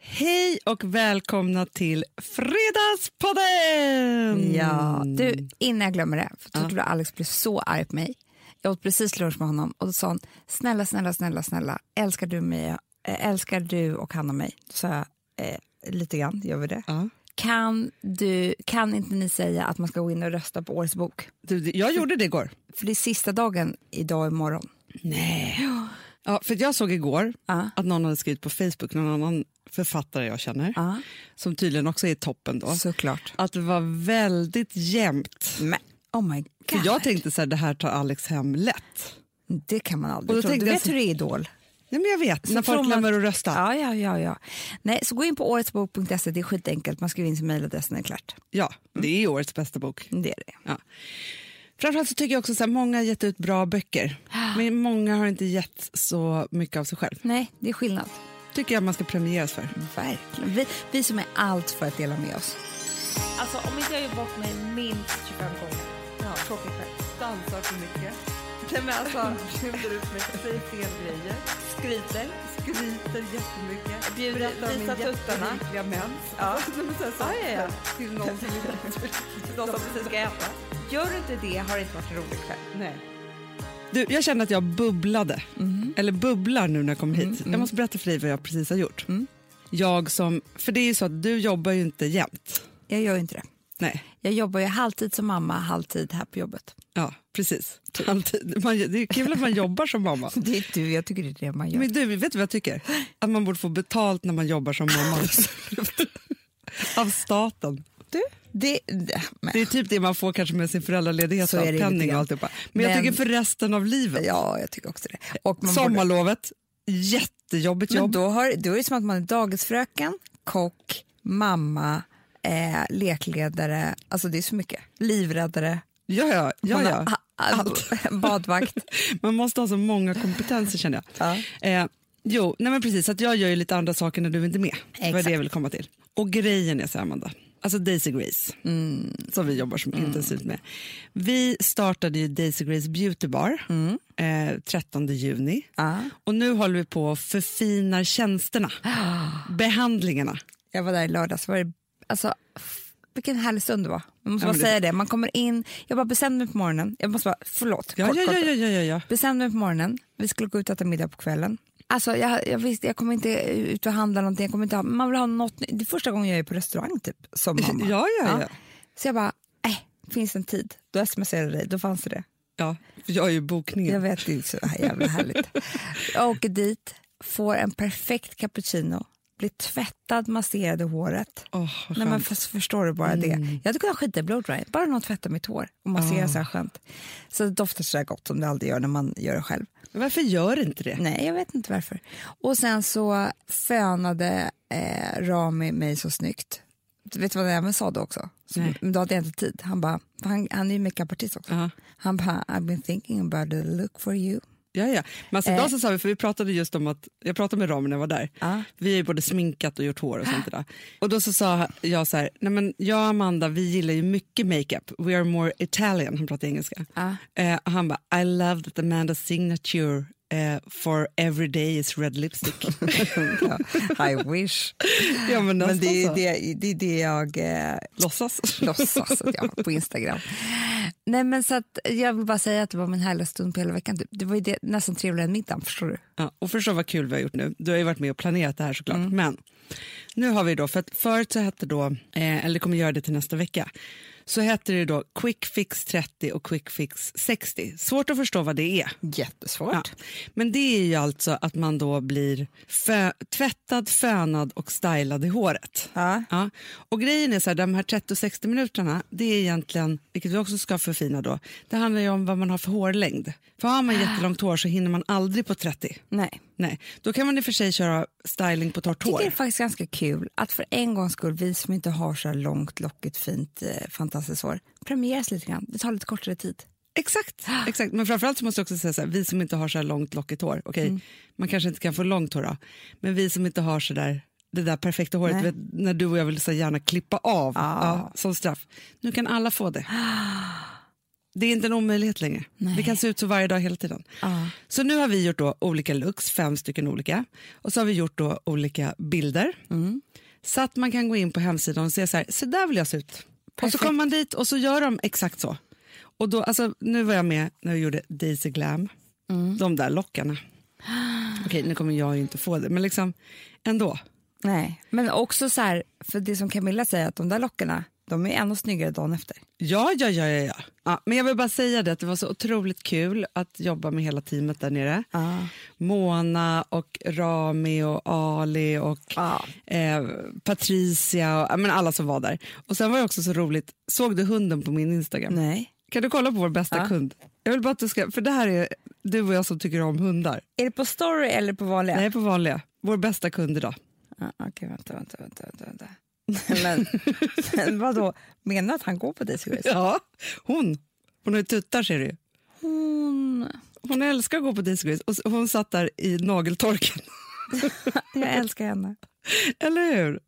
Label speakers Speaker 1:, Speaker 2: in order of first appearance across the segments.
Speaker 1: Hej och välkomna till Fredagspodden!
Speaker 2: Ja, du, innan jag glömmer det, för jag trodde att Alex blev så arg på mig. Jag åt precis lunch med honom och då sa han, snälla, snälla, snälla, snälla, älskar du mig, eh, älskar du och han och mig? Då sa jag, eh, lite grann, gör vi det?
Speaker 1: Ja.
Speaker 2: Kan, du, kan inte ni säga att man ska gå in och rösta på årets bok?
Speaker 1: Du, det- jag gjorde det igår.
Speaker 2: För det är sista dagen idag och imorgon.
Speaker 1: Nej. Ja, för jag såg igår
Speaker 2: Ja.
Speaker 1: att någon hade skrivit på Facebook, någon annan författare jag känner,
Speaker 2: Ja,
Speaker 1: som tydligen också är i toppen då,
Speaker 2: såklart.
Speaker 1: att det var väldigt jämnt.
Speaker 2: Men, oh my
Speaker 1: För
Speaker 2: god,
Speaker 1: jag tänkte så här, det här tar Alex hem lätt.
Speaker 2: det kan man aldrig
Speaker 1: Och då
Speaker 2: tro. Du
Speaker 1: tänkte jag
Speaker 2: vet
Speaker 1: så-
Speaker 2: hur det är i Idol.
Speaker 1: Nej, men jag vet, när
Speaker 2: tror
Speaker 1: folk
Speaker 2: man-
Speaker 1: glömmer att rösta. Ja.
Speaker 2: Ja, ja, ja, ja. Nej, så gå in på åretsbok.se, E, det är skitenkelt. Man skriver in sin mejladress när det är klart.
Speaker 1: det är årets bästa bok.
Speaker 2: Det är det.
Speaker 1: Ja. Framförallt så tycker jag också så här, många har gett ut bra böcker, men många har inte gett så mycket av sig själv.
Speaker 2: Nej, det är skillnad.
Speaker 1: tycker jag man ska premieras för.
Speaker 2: Verkligen. Vi, vi som är allt för att dela med oss.
Speaker 3: Alltså om inte jag gör bort mig minst 25 gånger. Ja. Tråkig kväll. Dansar för mycket. Nej men alltså. Bjuder ut mig, säger fel grejer. Skryter. Skryter jättemycket. Bjuder, Berättar om min jättemyckliga mens. Alltså, Ja. ja, ja, ja. Till någon som precis ska äta. Gör du inte det har det inte varit en rolig kväll. Nej.
Speaker 1: Du, jag kände att jag bubblade,
Speaker 2: Mm.
Speaker 1: eller bubblar nu när jag kom hit. Jag måste berätta för dig vad jag precis har gjort.
Speaker 2: Mm.
Speaker 1: Jag som, för det är ju så att du jobbar ju inte jämt.
Speaker 2: Jag gör ju inte det.
Speaker 1: Nej,
Speaker 2: Jag jobbar ju halvtid som mamma, halvtid här på jobbet.
Speaker 1: ja precis.
Speaker 2: Typ.
Speaker 1: Alltid. Man, det är kul att man jobbar som mamma.
Speaker 2: Det är du, jag tycker det är det man gör.
Speaker 1: Men du, vet du vad jag tycker? Att man borde få betalt när man jobbar som mamma. Av staten.
Speaker 2: du? Det, det, men,
Speaker 1: Det är typ det man får kanske med sin föräldraledighet,
Speaker 2: Så är det lite
Speaker 1: penning och
Speaker 2: grann.
Speaker 1: alltihopa. Men, jag
Speaker 2: Men-
Speaker 1: tycker för resten av livet.
Speaker 2: ja, jag tycker också det. Och man borde,
Speaker 1: Sommarlovet, jättejobbigt
Speaker 2: men
Speaker 1: jobb.
Speaker 2: då, har, då är det som att man är dagisfröken, kock, mamma, eh, lekledare. Alltså det är så mycket. Livräddare.
Speaker 1: Ja, ja, ja,
Speaker 2: man
Speaker 1: ja.
Speaker 2: har- a- a- Badvakt.
Speaker 1: Man måste ha så många kompetenser känner jag. Eh, jo, nej men precis, att jag gör ju lite andra saker när du inte är med. Det var
Speaker 2: Exakt.
Speaker 1: det jag ville komma till. Och grejen är så här, Amanda, alltså Daisy Grace,
Speaker 2: Mm.
Speaker 1: som vi jobbar så intensivt med. Vi startade ju Daisy Grace Beauty Bar eh, 13 juni.
Speaker 2: Mm. Ja.
Speaker 1: Och nu håller vi på och förfinar tjänsterna, behandlingarna.
Speaker 2: Jag var där i lördags. Var det, alltså, f- vilken härlig stund det var. Man måste
Speaker 1: Ja,
Speaker 2: bara
Speaker 1: men det-
Speaker 2: säga det. Man kommer in, jag bara bestämde mig på morgonen. Jag måste bara, förlåt.
Speaker 1: Ja,
Speaker 2: kort,
Speaker 1: ja,
Speaker 2: kort.
Speaker 1: ja, ja, ja, ja, ja.
Speaker 2: Bestämde mig på morgonen. Vi skulle gå ut och äta middag på kvällen. Alltså, jag, jag visste, jag kommer inte ut och handla någonting. Jag kommer inte ha, man vill ha något nytt. Det är första gången jag är på restaurang typ, som mamma.
Speaker 1: Ja, ja, ja.
Speaker 2: Så jag bara, äh, finns det en tid? Då smsade jag dig, då fanns det det.
Speaker 1: ja för jag är ju bokningen.
Speaker 2: Jag vet, det är så här jävla härligt. Jag åker dit, får en perfekt cappuccino, blir tvättad, masserad i håret.
Speaker 1: Åh, vad
Speaker 2: Nej, men
Speaker 1: skönt. Mm.
Speaker 2: för, förstår du bara det? Jag hade kunnat skita i blowdry, bara någon tvättar mitt hår och masserar så här skönt. Så det doftar så där gott som det aldrig gör när man gör det själv.
Speaker 1: Varför gör inte det?
Speaker 2: Nej, jag vet inte varför. Och sen så fönade eh, Rami mig så snyggt. Du Vet du vad jag även sa då också? Så, men då hade jag inte tid. Han bara, för han, han är ju makeupartist också.
Speaker 1: Ja.
Speaker 2: Han bara, I've been thinking about the look for you.
Speaker 1: Ja, ja. Men alltså,
Speaker 2: Eh.
Speaker 1: idag så sa vi, för vi pratade just om att, jag pratade med Ramin när jag var där,
Speaker 2: Ja. Ah.
Speaker 1: vi har ju både sminkat och gjort hår och sånt där. Och då så sa jag så här, nej men jag och Amanda vi gillar ju mycket makeup, we are more Italian, han pratar engelska.
Speaker 2: Ja.
Speaker 1: Eh, och han bara, I love that Amanda's signature eh, for every day is red lipstick.
Speaker 2: ja, I wish.
Speaker 1: ja men, alltså, nästan
Speaker 2: Men det är
Speaker 1: så.
Speaker 2: det, det, är det jag eh,
Speaker 1: Låtsas.
Speaker 2: låtsas att jag har på Instagram. Nej, men så att, jag vill bara säga att det var min härliga stund på hela veckan. typ. Det var ju det, nästan trevligare än middagen, förstår du?
Speaker 1: Ja, och förstå vad kul vi har gjort nu. Du har ju varit med och planerat det här såklart. Men nu har vi då, för att förut så hette då, eh, eller kommer göra det till nästa vecka, så hette det då Quick Fix 30 och Quick Fix 60. Svårt att förstå vad det är.
Speaker 2: Jättesvårt.
Speaker 1: Ja. Men det är ju alltså att man då blir fö- tvättad, fönad och stylad i håret.
Speaker 2: Ja.
Speaker 1: Ja. Och grejen är så här, de här 30 och 60 minuterna, det är egentligen, vilket vi också ska förfina då, det handlar ju om vad man har för hårlängd. För har man jättelångt hår så hinner man aldrig på 30.
Speaker 2: Nej.
Speaker 1: Nej, då kan man i och för sig köra styling på torrt
Speaker 2: Jag
Speaker 1: hår.
Speaker 2: tycker det är faktiskt ganska kul att för en gångs skull, vi som inte har så här långt, lockigt, fint, eh, fantastiskt hår, premieras lite grann. Det tar lite kortare tid.
Speaker 1: Exakt, exakt. Men framförallt så måste jag också säga så här, vi som inte har så här långt lockigt hår, okej,
Speaker 2: Mm.
Speaker 1: man kanske inte kan få långt hår då, men vi som inte har så där det där perfekta håret,
Speaker 2: Nej.
Speaker 1: vet, när du och jag vill så gärna klippa av
Speaker 2: Ah.
Speaker 1: ja, som straff. Nu kan alla få det. Det är inte en omöjlighet längre.
Speaker 2: Nej.
Speaker 1: Vi kan se ut så varje dag hela tiden.
Speaker 2: Ja.
Speaker 1: Så nu har vi gjort då olika looks, fem stycken olika. Och så har vi gjort då olika bilder.
Speaker 2: Mm.
Speaker 1: Så att man kan gå in på hemsidan och se så här, så där vill jag se ut. Och så
Speaker 2: Perfekt.
Speaker 1: kommer man dit och så gör de exakt så. Och då, alltså, nu var jag med när jag gjorde Daisy Glam,
Speaker 2: Mm.
Speaker 1: de där lockarna. Okej, nu kommer jag ju inte få det, men liksom ändå.
Speaker 2: Nej, men också så här, för det som Camilla säger, att de där lockarna, de är ännu snyggare dagen efter.
Speaker 1: Ja, ja, ja, ja, ja. ja. Men jag vill bara säga det att det var så otroligt kul att jobba med hela teamet där nere.
Speaker 2: Ja.
Speaker 1: Mona och Rami och Ali och
Speaker 2: Ja.
Speaker 1: eh, Patricia och ja, men alla som var där. Och sen var det också så roligt, såg du hunden på min Instagram?
Speaker 2: Nej.
Speaker 1: Kan du kolla på vår bästa
Speaker 2: Ja.
Speaker 1: kund? Jag vill bara att du ska, för det här är du och jag som tycker om hundar.
Speaker 2: Är det på story eller på vanliga?
Speaker 1: Nej, på vanliga. Vår bästa kund idag.
Speaker 2: Ja, Okej, vänta, vänta, vänta. vänta, vänta. Men, men vadå, menar du att han går på Daisy Grace?
Speaker 1: Ja, hon. Hon har ju tuttar ser du ju.
Speaker 2: Hon...
Speaker 1: Hon älskar att gå på Daisy Grace och s- hon satt där i nageltorken.
Speaker 2: Jag älskar henne.
Speaker 1: Eller hur?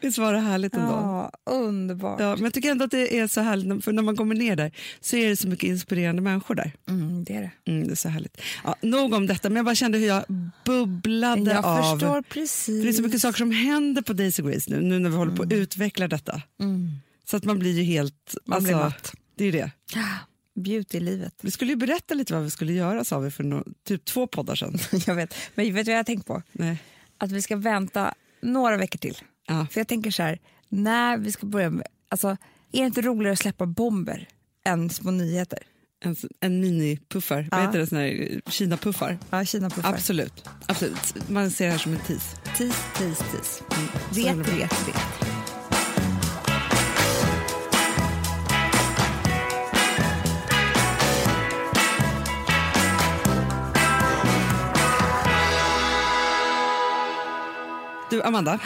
Speaker 1: Visst var det härligt ändå?
Speaker 2: Ja, underbart.
Speaker 1: Ja, men jag tycker ändå att det är så härligt, för när man kommer ner där så är det så mycket inspirerande människor där.
Speaker 2: Mm, det är det.
Speaker 1: Mm, det är så härligt. Ja, nog om detta, men jag bara kände hur jag bubblade
Speaker 2: Jag
Speaker 1: av.
Speaker 2: förstår
Speaker 1: För
Speaker 2: precis. Mm.
Speaker 1: det är så mycket saker som händer på Daisy Grace nu, nu när vi håller på att utveckla detta. Så att man blir ju helt... alltså,
Speaker 2: Man blir matt.
Speaker 1: Det är ju det.
Speaker 2: Beauty i livet.
Speaker 1: Vi skulle ju berätta lite vad vi skulle göra, sa vi för no typ två poddar sedan.
Speaker 2: Jag vet. Men vet du vad jag har tänkt på?
Speaker 1: Nej.
Speaker 2: Att vi ska vänta några veckor till.
Speaker 1: Ja.
Speaker 2: För jag tänker så här, när vi ska börja med... Alltså, är det inte roligare att släppa bomber än små nyheter?
Speaker 1: En, s- en mini-puffar, vad
Speaker 2: Ja.
Speaker 1: heter det? Sån här eh, Kina-puffar?
Speaker 2: Ja, Kina puffar.
Speaker 1: Absolut. Absolut. Man ser det här som en tis.
Speaker 2: Tis, tis, tis.
Speaker 1: himla
Speaker 2: Vet,
Speaker 1: bra.
Speaker 2: vet, vet.
Speaker 1: Du, Amanda.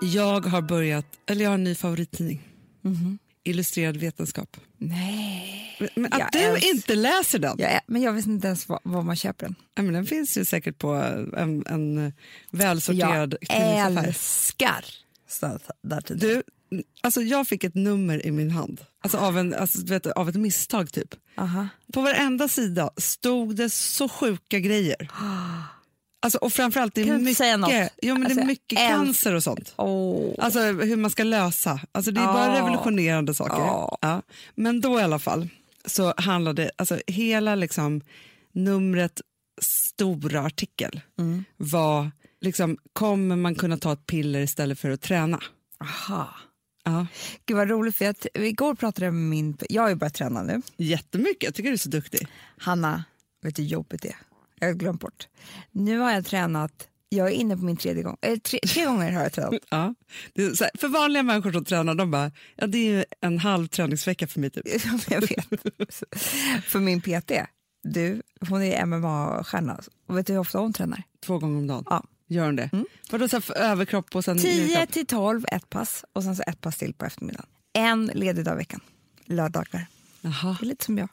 Speaker 1: Jag har börjat, eller jag har en ny favorittidning.
Speaker 2: Mhm.
Speaker 1: Illustrerad vetenskap.
Speaker 2: Nej.
Speaker 1: Men, men att
Speaker 2: Jag
Speaker 1: du
Speaker 2: älsk-
Speaker 1: inte läser den!
Speaker 2: Jag är, men jag vet inte ens var, var man köper den.
Speaker 1: Ja, men den finns ju säkert på eh, en, en välsorterad
Speaker 2: Jag
Speaker 1: tidningsaffär.
Speaker 2: älskar sådana där
Speaker 1: Du, alltså jag fick ett nummer i min hand, alltså av, en, alltså, du vet, av ett misstag typ.
Speaker 2: Aha.
Speaker 1: På varenda sida stod det så sjuka grejer. Alltså, och framförallt, det är
Speaker 2: Kan du inte
Speaker 1: mycket,
Speaker 2: säga något?
Speaker 1: Jo, men
Speaker 2: Alltså,
Speaker 1: det är
Speaker 2: jag
Speaker 1: mycket
Speaker 2: älsk-
Speaker 1: cancer och sånt.
Speaker 2: Åh.
Speaker 1: Alltså hur man ska lösa. Alltså det är bara
Speaker 2: Ja.
Speaker 1: revolutionerande saker.
Speaker 2: Ja.
Speaker 1: Ja. Men då i alla fall så handlade alltså hela liksom numret stora artikel
Speaker 2: Mm.
Speaker 1: var liksom kommer man kunna ta ett piller istället för att träna?
Speaker 2: Aha.
Speaker 1: Ja.
Speaker 2: Gud vad roligt, för jag, t- igår pratade jag med min... Jag har ju börjat träna nu.
Speaker 1: Jättemycket, jag tycker du är så duktig.
Speaker 2: Hanna, vet du hur jobbigt det är? Jag har glömt bort. Nu har jag tränat, jag är inne på min tredje gång. Eh, tre, tre gånger har jag tränat.
Speaker 1: Ja. Det är så här, för vanliga människor som tränar, de bara, ja det är ju en halv träningsvecka för mig typ.
Speaker 2: jag vet. För min PT, du, hon är MMA-stjärna. Och vet du hur ofta hon tränar?
Speaker 1: Två gånger om dagen.
Speaker 2: Ja. Mm.
Speaker 1: Gör hon det? Vadå så här, för överkropp och sen
Speaker 2: 10
Speaker 1: nedkropp?
Speaker 2: till 12, ett pass och sen så ett pass till på eftermiddagen. En ledig dag i veckan, lördagar.
Speaker 1: Jaha.
Speaker 2: Det är lite som jag.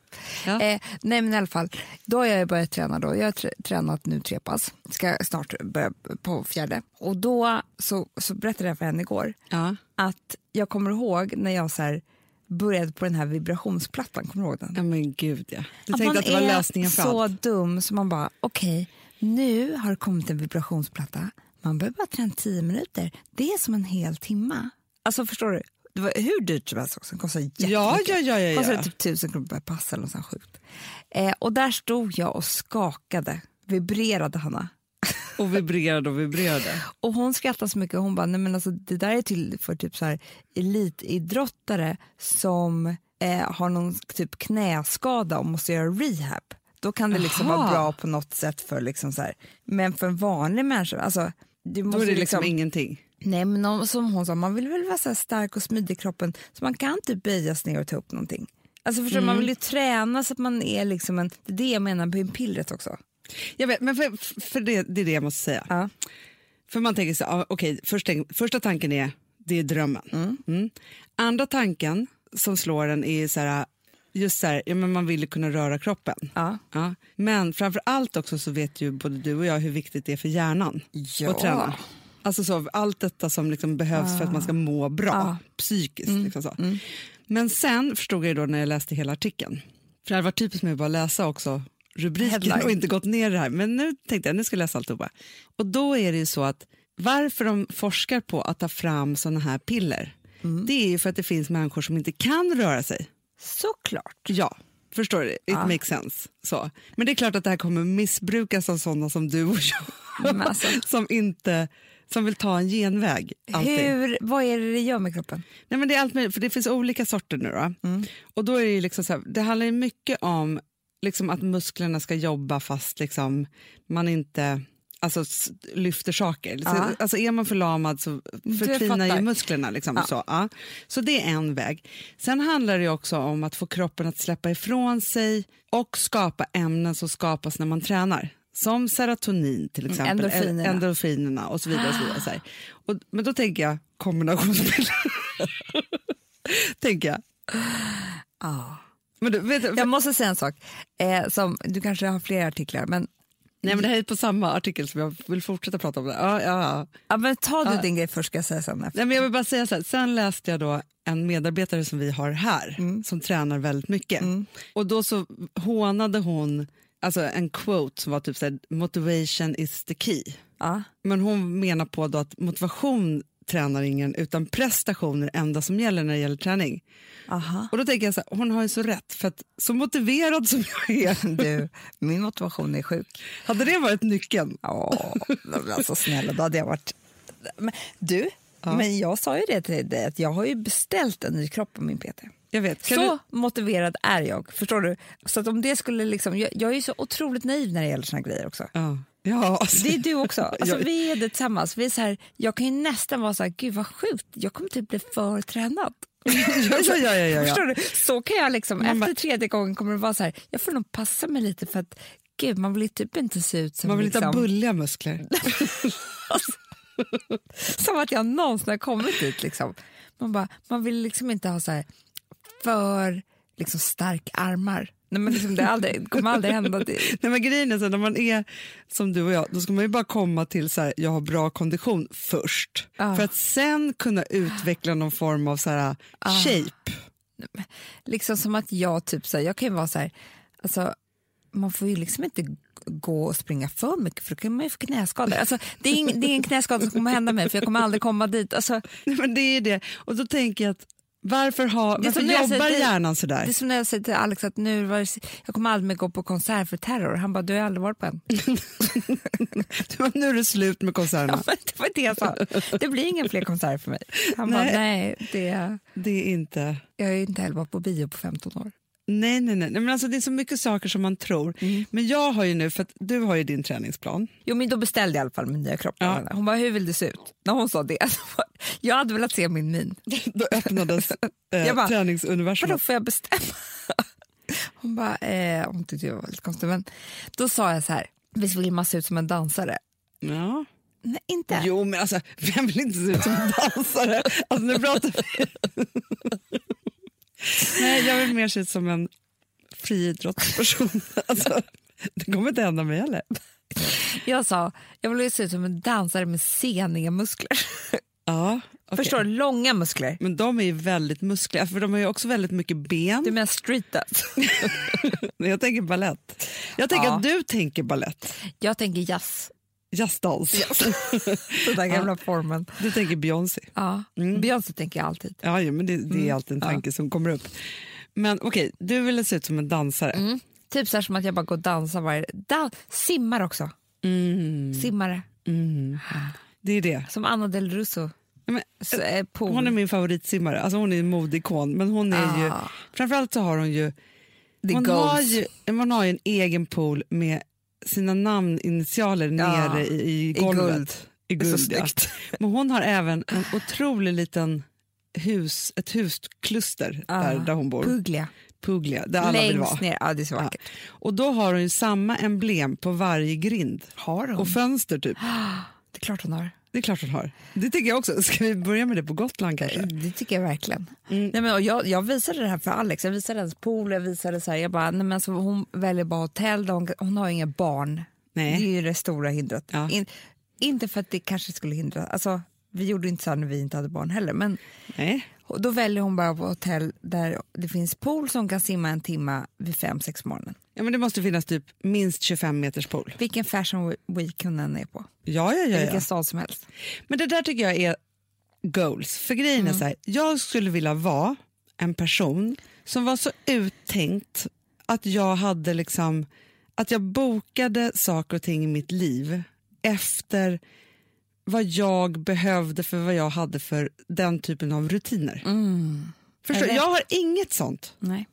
Speaker 1: Ja.
Speaker 2: Eh, nej men i alla fall, då har jag börjat träna då. Jag har tr- tränat nu tre pass, ska snart börja på fjärde. Och då så, så berättade jag för henne igår
Speaker 1: Ja.
Speaker 2: att jag kommer ihåg när jag så här började på den här vibrationsplattan, kommer du ihåg den?
Speaker 1: Ja men gud ja. Du
Speaker 2: Att
Speaker 1: tänkte
Speaker 2: man
Speaker 1: att det var
Speaker 2: är
Speaker 1: lösningen för
Speaker 2: så
Speaker 1: allt.
Speaker 2: dum så man bara, okej, nu har det kommit en vibrationsplatta. Man behöver bara träna 10 minuter. Det är som en hel timma. Alltså förstår du? Det var hur dyrt som helst också. Det kostade jättemycket.
Speaker 1: Ja, ja, ja, ja, ja.
Speaker 2: Kostade typ tusen kronor per pass eller något sånt sjukt. Eh, och där stod jag och skakade, vibrerade Hanna.
Speaker 1: Och vibrerade och vibrerade.
Speaker 2: Och hon skrattade så mycket. Hon bara, nej men alltså det där är till för typ så här elitidrottare som eh, har någon typ knäskada och måste göra rehab. Då kan det liksom
Speaker 1: Aha.
Speaker 2: vara bra på något sätt för liksom så här. Men för en vanlig människa, alltså du
Speaker 1: Då
Speaker 2: måste
Speaker 1: är det liksom
Speaker 2: liksom,
Speaker 1: ingenting.
Speaker 2: nej men om, som hon sa, man vill väl vara så här stark och smidig i kroppen så man kan typ böjas ner och ta upp någonting. Alltså förstår du,
Speaker 1: Mm.
Speaker 2: man vill ju träna så att man är liksom en, det är det jag menar med pillret också.
Speaker 1: Jag vet, men för, för det, det är det jag måste säga.
Speaker 2: Ja.
Speaker 1: För man tänker så, ah, okej, först tänk, första tanken är, det är drömmen. Mm. Andra tanken som slår en är så här, just så här, ja, men man vill ju kunna röra kroppen.
Speaker 2: Ja.
Speaker 1: Ja. Men framför allt också så vet ju både du och jag hur viktigt det är för hjärnan
Speaker 2: Ja.
Speaker 1: att träna. Alltså så, allt detta som liksom behövs för att man ska må bra psykiskt. Liksom så. Men sen förstod jag ju då när jag läste hela artikeln För det hade varit typiskt mig att bara läsa också rubriken
Speaker 2: Headline.
Speaker 1: och inte gått ner i det här. Men nu tänkte jag nu ska jag läsa alltihopa. Och då är det ju så att varför de forskar på att ta fram sådana här piller, det är ju för att det finns människor som inte kan röra sig.
Speaker 2: Såklart.
Speaker 1: Ja, förstår du? It
Speaker 2: Ja.
Speaker 1: makes sense. Så. Men det är klart att det här kommer missbrukas av sådana som du och jag.
Speaker 2: Men alltså.
Speaker 1: som, inte, som vill ta en genväg. alltid.
Speaker 2: Hur, vad är det det gör med kroppen?
Speaker 1: Nej, men det, är allt möjligt, för det finns olika sorter nu. Då.
Speaker 2: Mm.
Speaker 1: Och då är det, ju liksom så här, det handlar ju mycket om liksom att musklerna ska jobba fast liksom, man inte alltså, s- lyfter saker.
Speaker 2: Ja.
Speaker 1: Så, alltså, är man förlamad så förtvinar
Speaker 2: fattar.
Speaker 1: ju musklerna. Liksom, så, ja. så det är en väg. Sen handlar det ju också om att få kroppen att släppa ifrån sig och skapa ämnen som skapas när man tränar. Som serotonin till exempel,
Speaker 2: Mm, endorfinerna. Ah.
Speaker 1: en- endorfinerna och så vidare. Och så vidare så här. Och, men då tänker jag kombinationspiller. tänker jag.
Speaker 2: Ah.
Speaker 1: Men du, vet, du-
Speaker 2: Jag måste säga en sak. Eh, som, du kanske har fler artiklar, men,
Speaker 1: nej, men det här är på samma artikel som jag vill fortsätta prata om. Det. Ja, ja, ja.
Speaker 2: ja, men ta du din grej först ska jag säga sen. efter.
Speaker 1: Nej, men jag vill bara säga så här. Sen läste jag då en medarbetare som vi har här som tränar väldigt mycket. Och då så hånade hon alltså en quote som var typ så här, motivation is the key.
Speaker 2: Ja.
Speaker 1: Men hon menar på då att motivation tränar ingen utan prestation är det enda som gäller när det gäller träning.
Speaker 2: Aha.
Speaker 1: Och då tänker jag så här, hon har ju så rätt för att så motiverad som jag är,
Speaker 2: Du, min motivation är sjuk.
Speaker 1: hade det varit nyckeln?
Speaker 2: Ja, men alltså snälla, då hade jag varit... Men, du, men jag sa ju det till dig att jag har ju beställt en ny kropp på min PT.
Speaker 1: Jag vet. Kan
Speaker 2: så
Speaker 1: du,
Speaker 2: motiverad är jag, förstår du? Så att om det skulle liksom, jag, jag är ju så otroligt naiv när det gäller såna grejer också.
Speaker 1: ja, ja, alltså,
Speaker 2: Det är du också. Alltså,
Speaker 1: Jag-
Speaker 2: Vi är det tillsammans. Vi är så här, jag kan ju nästan vara så här, gud vad sjukt, jag kommer typ bli för tränad.
Speaker 1: ja, ja, ja, ja.
Speaker 2: Förstår du? Så kan jag liksom, efter tredje gången kommer det vara så här, jag får nog passa mig lite för att gud, man vill ju typ inte se ut som
Speaker 1: man vill inte ha
Speaker 2: liksom,
Speaker 1: bulliga muskler.
Speaker 2: som att jag någonsin har kommit dit. Liksom. Man, bara, man vill liksom inte ha så här för liksom stark armar. Nej, men liksom det, är aldrig, det kommer aldrig hända. Det,
Speaker 1: Nej, men grejen är så här, när man är som du och jag, då ska man ju bara komma till så här, jag har bra kondition först.
Speaker 2: Ja.
Speaker 1: För att sen kunna utveckla någon form av så här,
Speaker 2: Ah.
Speaker 1: shape.
Speaker 2: liksom som att jag typ så här, jag kan ju vara så här, alltså, man får ju liksom inte g- gå och springa för mycket för då kan man ju få knäskador. Alltså, det, är ing, det är ingen knäskada som kommer hända mig för jag kommer aldrig komma dit. Alltså,
Speaker 1: Nej, men det är det. Och då tänker jag att varför, ha,
Speaker 2: Det är
Speaker 1: varför
Speaker 2: som när jag
Speaker 1: jobbar
Speaker 2: säger-
Speaker 1: hjärnan så
Speaker 2: det är
Speaker 1: där?
Speaker 2: som när jag säger till Alex att nu var det, jag kommer aldrig mer gå på konsert för terror. Han bara, du har ju aldrig varit på en.
Speaker 1: nu är det slut med konserterna.
Speaker 2: Ja, men det var det jag sa. Det blir ingen fler konserter för mig. Han bara,
Speaker 1: Nej.
Speaker 2: nej, det,
Speaker 1: Det är inte...
Speaker 2: jag har ju inte heller varit på bio på 15 år.
Speaker 1: Nej, nej, nej. nej men alltså, det är så mycket saker som man tror.
Speaker 2: Mm.
Speaker 1: Men jag har ju nu, för att du har ju din träningsplan.
Speaker 2: Jo, men då beställde jag i alla fall min nya kropp.
Speaker 1: Ja.
Speaker 2: Hon bara, Hon bara, hur vill det se ut? När hon sa det, jag hade velat se min min.
Speaker 1: Då öppnades eh,
Speaker 2: Jag bara, Vadå,
Speaker 1: träningsuniversum.
Speaker 2: får jag bestämma? Hon bara, eh, hon tyckte jag var lite konstig. Men då sa jag så här, visst vill man se ut som en dansare?
Speaker 1: Ja.
Speaker 2: Nej, inte.
Speaker 1: Jo, men alltså, vem vill inte se ut som en dansare? Alltså, nu pratar vi... nej, jag vill mer se ut som en friidrottsperson. Alltså, det kommer inte hända mig heller.
Speaker 2: Jag sa, jag vill ju se ut som en dansare med seniga muskler.
Speaker 1: Ja, okej.
Speaker 2: Förstår du? Långa muskler.
Speaker 1: Men de är ju väldigt muskliga, för de har ju också väldigt mycket ben.
Speaker 2: Du menar street dance?
Speaker 1: Men Jag tänker ballett. Jag tänker
Speaker 2: Ja.
Speaker 1: att du tänker ballett.
Speaker 2: Jag tänker jazz,
Speaker 1: Jazzdans.
Speaker 2: den där gamla formen.
Speaker 1: Du tänker Beyoncé.
Speaker 2: Ja. Mm. Beyoncé tänker jag alltid.
Speaker 1: Ja, ja, men det, det
Speaker 2: Mm.
Speaker 1: är alltid en tanke som kommer upp. Men okej, du ville se ut som en dansare.
Speaker 2: Typ så här som att jag bara går och dansar varje... Dan- simmar också. Simmare.
Speaker 1: Det är det.
Speaker 2: Som Anna Del Russo.
Speaker 1: Ja, Men,
Speaker 2: S- eh, pool.
Speaker 1: hon är min favoritsimmare. Alltså, hon är en modeikon. Men hon är ju,
Speaker 2: Ah.
Speaker 1: framförallt så har hon ju,
Speaker 2: The
Speaker 1: hon
Speaker 2: goals.
Speaker 1: har ju, hon har ju en egen pool med sina namninitialer
Speaker 2: Ja,
Speaker 1: nere i, i
Speaker 2: i
Speaker 1: golvet.
Speaker 2: guld.
Speaker 1: I
Speaker 2: Det är så
Speaker 1: guld, ja.
Speaker 2: snyggt. Ah.
Speaker 1: Men hon har även en otrolig liten hus, ett huskluster där, där hon bor.
Speaker 2: Puglia.
Speaker 1: Puglia, där alla vill vara.
Speaker 2: Ah. Längst ner. Ja, det är så vackert.
Speaker 1: Och då har hon ju samma emblem på varje grind
Speaker 2: Har hon?
Speaker 1: och fönster typ.
Speaker 2: det är klart hon har.
Speaker 1: Det är klart hon har. Det tycker jag också. Ska vi börja med det på Gotland kanske?
Speaker 2: Det tycker jag verkligen.
Speaker 1: Mm.
Speaker 2: Nej, men, och jag, jag visade det här för Alex. Jag visade hennes pool. Jag visade så här, jag bara, nej, men, så hon väljer bara hotell. där Hon, hon har ju inga barn.
Speaker 1: Nej.
Speaker 2: Det är ju det stora hindret.
Speaker 1: Ja.
Speaker 2: In, inte för att det kanske skulle hindra. Alltså, vi gjorde inte så här när vi inte hade barn heller. Men
Speaker 1: Nej.
Speaker 2: och då väljer hon bara på hotell där det finns pool som kan simma en timme vid fem sex på morgonen.
Speaker 1: Ja, men det måste finnas typ minst 25 meters pool.
Speaker 2: Vilken fashion week hon än är på.
Speaker 1: Ja, ja, ja,
Speaker 2: Vilken
Speaker 1: ja.
Speaker 2: stad som helst.
Speaker 1: Men det där tycker jag är goals. För grejen
Speaker 2: Mm.
Speaker 1: är så här, jag skulle vilja vara en person som var så uttänkt att jag hade liksom, att jag bokade saker och ting i mitt liv efter vad jag behövde för vad jag hade för den typen av rutiner.
Speaker 2: Mm.
Speaker 1: Förstår,
Speaker 2: Eller-
Speaker 1: jag har inget sånt.
Speaker 2: Nej.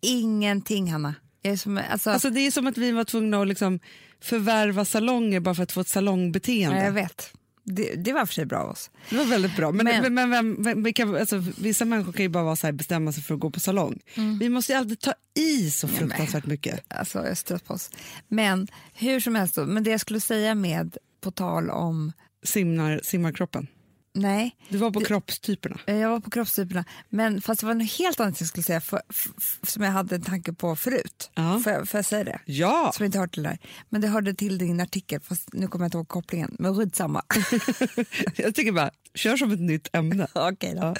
Speaker 2: Ingenting Hanna. Jag är som, alltså,
Speaker 1: Alltså, det är som att vi var tvungna att liksom förvärva salonger bara för att få ett salongbeteende.
Speaker 2: ja, jag vet. Det, det var för sig bra av oss.
Speaker 1: Det var väldigt bra. Men,
Speaker 2: Men-
Speaker 1: men, men vem, vem, vilka, alltså, vissa människor kan ju bara vara så här, bestämma sig för att gå på salong.
Speaker 2: Mm.
Speaker 1: Vi måste ju alltid ta i så fruktansvärt mycket.
Speaker 2: Alltså, jag är stött på oss. Men hur som helst, då, men det jag skulle säga med på tal om,
Speaker 1: Simnar, simmar kroppen.
Speaker 2: nej,
Speaker 1: Du var på kroppstyperna.
Speaker 2: Eh, Jag var på kroppstyperna, men fast det var något helt annat jag skulle säga för, f- f- som jag hade en tanke på förut.
Speaker 1: Ja.
Speaker 2: Får, jag, får jag säga det?
Speaker 1: Ja,
Speaker 2: Som inte hört till det där. Men det hörde till din artikel, fast nu kommer jag inte ihåg kopplingen. Men skitsamma.
Speaker 1: jag tycker bara, kör som ett nytt ämne.
Speaker 2: Okej då.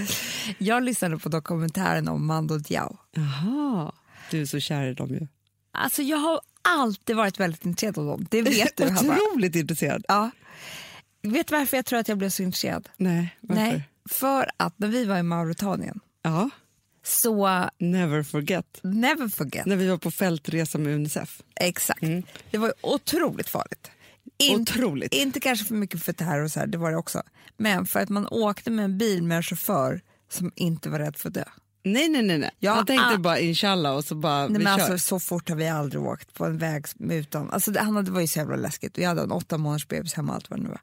Speaker 2: Jag lyssnade på dokumentären om Mando Diao.
Speaker 1: Aha. Du är så kär i dem ju.
Speaker 2: Alltså jag har alltid varit väldigt intresserad av dem, det vet du Hanna.
Speaker 1: Otroligt intresserad. Ah,
Speaker 2: Ja. Vet du varför jag tror att jag blev så intresserad?
Speaker 1: Nej, varför?
Speaker 2: Nej, för att när vi var i Mauritanien
Speaker 1: Ja,
Speaker 2: så,
Speaker 1: never forget.
Speaker 2: never forget,
Speaker 1: När vi var på fältresa med Unicef.
Speaker 2: Exakt. Det var ju otroligt farligt. In-
Speaker 1: Mm. Otroligt.
Speaker 2: Inte kanske för mycket för terror, och så här, det var det också. Men för att man åkte med en bil med en chaufför som inte var rädd för att dö.
Speaker 1: Nej, nej, nej. nej.
Speaker 2: Ja,
Speaker 1: jag tänkte
Speaker 2: ah.
Speaker 1: bara inshallah och så bara,
Speaker 2: Nej,
Speaker 1: vi
Speaker 2: men
Speaker 1: kör.
Speaker 2: alltså, så fort har vi aldrig åkt på en väg som- utan... Alltså, det, Hanna, det var ju så jävla läskigt. Och Jag hade en åtta månaders bebis hemma och allt vad det nu var.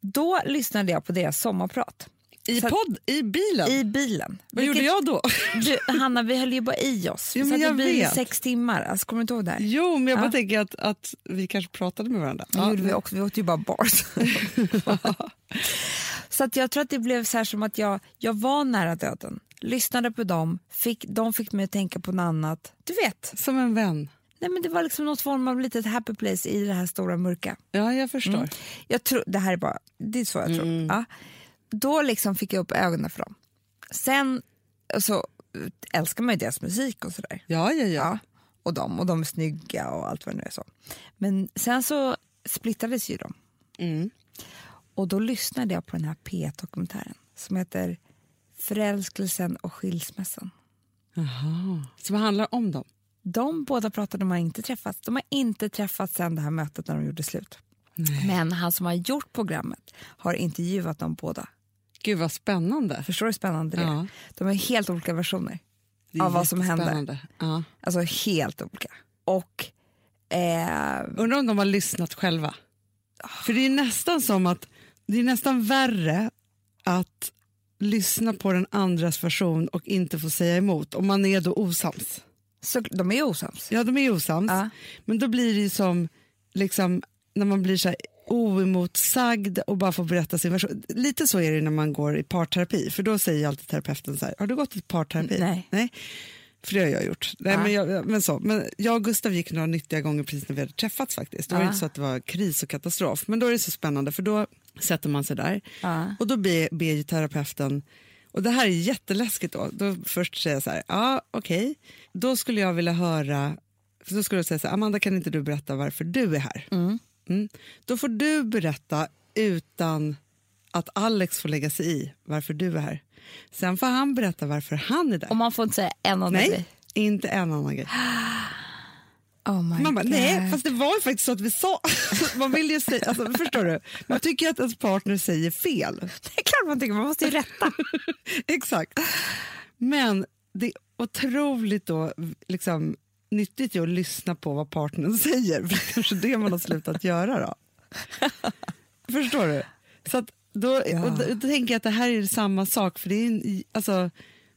Speaker 2: Då lyssnade jag på deras sommarprat
Speaker 1: I
Speaker 2: så att-
Speaker 1: podd, i bilen.
Speaker 2: i bilen.
Speaker 1: Vad gjorde jag då?
Speaker 2: Du, Hanna, vi höll ju bara i oss.
Speaker 1: Jo,
Speaker 2: vi
Speaker 1: men
Speaker 2: satt i
Speaker 1: jag
Speaker 2: bilen i
Speaker 1: vet.
Speaker 2: sex timmar. Alltså, kommer du inte ihåg det här?
Speaker 1: Jo, men jag bara
Speaker 2: Ja.
Speaker 1: tänker att, att vi kanske pratade med varandra.
Speaker 2: Det
Speaker 1: Ja.
Speaker 2: gjorde vi också. Vi åt ju bara bars. så att jag tror att det blev så här som att jag, jag var nära döden. Lyssnade på dem, fick, de fick mig att tänka på något annat. Du vet,
Speaker 1: Som en vän.
Speaker 2: nej men det var liksom något form av litet happy place i det här stora mörka.
Speaker 1: Ja, jag förstår.
Speaker 2: Mm. Jag tror, det här är bara, det är så jag tror. Ja. Då liksom fick jag upp ögonen för dem. Sen så älskar man ju deras musik och sådär.
Speaker 1: Ja, ja, ja.
Speaker 2: Ja, och de, och de är snygga och allt vad det nu är så. Men sen så splittades ju de.
Speaker 1: Mm.
Speaker 2: Och då lyssnade jag på den här P1-dokumentären som heter Förälskelsen och skilsmässan.
Speaker 1: Jaha. Som handlar om dem.
Speaker 2: De båda pratade, de har inte träffats. De har inte träffats sedan det här mötet när de gjorde slut. Men han som har gjort programmet har intervjuat dem båda.
Speaker 1: Gud, vad spännande.
Speaker 2: Förstår du hur spännande det är?
Speaker 1: Ja.
Speaker 2: De har helt olika versioner.
Speaker 1: Det är
Speaker 2: Av vad som hände.
Speaker 1: jättespännande. Ja.
Speaker 2: Alltså helt olika. Och eh,
Speaker 1: Undrar om de har lyssnat själva.
Speaker 2: Ah.
Speaker 1: För det är nästan som att det är nästan värre att lyssna på den andras version och inte få säga emot. Om man är då osams.
Speaker 2: så, de är ju osams.
Speaker 1: Ja, de är osams.
Speaker 2: Ja.
Speaker 1: Men då blir det ju som liksom, när man blir så här oemotsagd och bara får berätta sin version. Lite så är det när man går i parterapi, för då säger ju alltid terapeuten så här, har du gått i parterapi?
Speaker 2: Nej.
Speaker 1: För det har jag gjort. Nej,
Speaker 2: Ja.
Speaker 1: men, jag, men, så. men jag och Gustav gick några nyttiga gånger precis när vi hade träffats faktiskt. Då var
Speaker 2: Ja.
Speaker 1: det inte så att det var kris och katastrof, men då är det så spännande för då sätter man sig där
Speaker 2: Ja.
Speaker 1: och då ber, ber ju terapeuten och det här är jätteläskigt då. då först säger jag så här, ja okej, då skulle jag vilja höra, för då skulle jag säga så här, Amanda kan inte du berätta varför du är här? Mm. Då får du berätta utan att Alex får lägga sig i varför du är här. Sen får han berätta varför han är där.
Speaker 2: Och man får inte säga en annan
Speaker 1: Nej,
Speaker 2: grej.
Speaker 1: inte en annan grej.
Speaker 2: Oh my
Speaker 1: Man bara,
Speaker 2: God.
Speaker 1: nej, fast det var ju faktiskt så att vi sa. Man vill ju säga, alltså, förstår du? Man tycker ju att ens partner säger fel.
Speaker 2: Det är klart man tycker, man måste ju rätta.
Speaker 1: Exakt. Men det är otroligt då, liksom, nyttigt ju att lyssna på vad partnern säger. För det är kanske det man har slutat göra. då. Förstår du? Så att då, och då, då tänker jag att det här är samma sak. För det är en, alltså,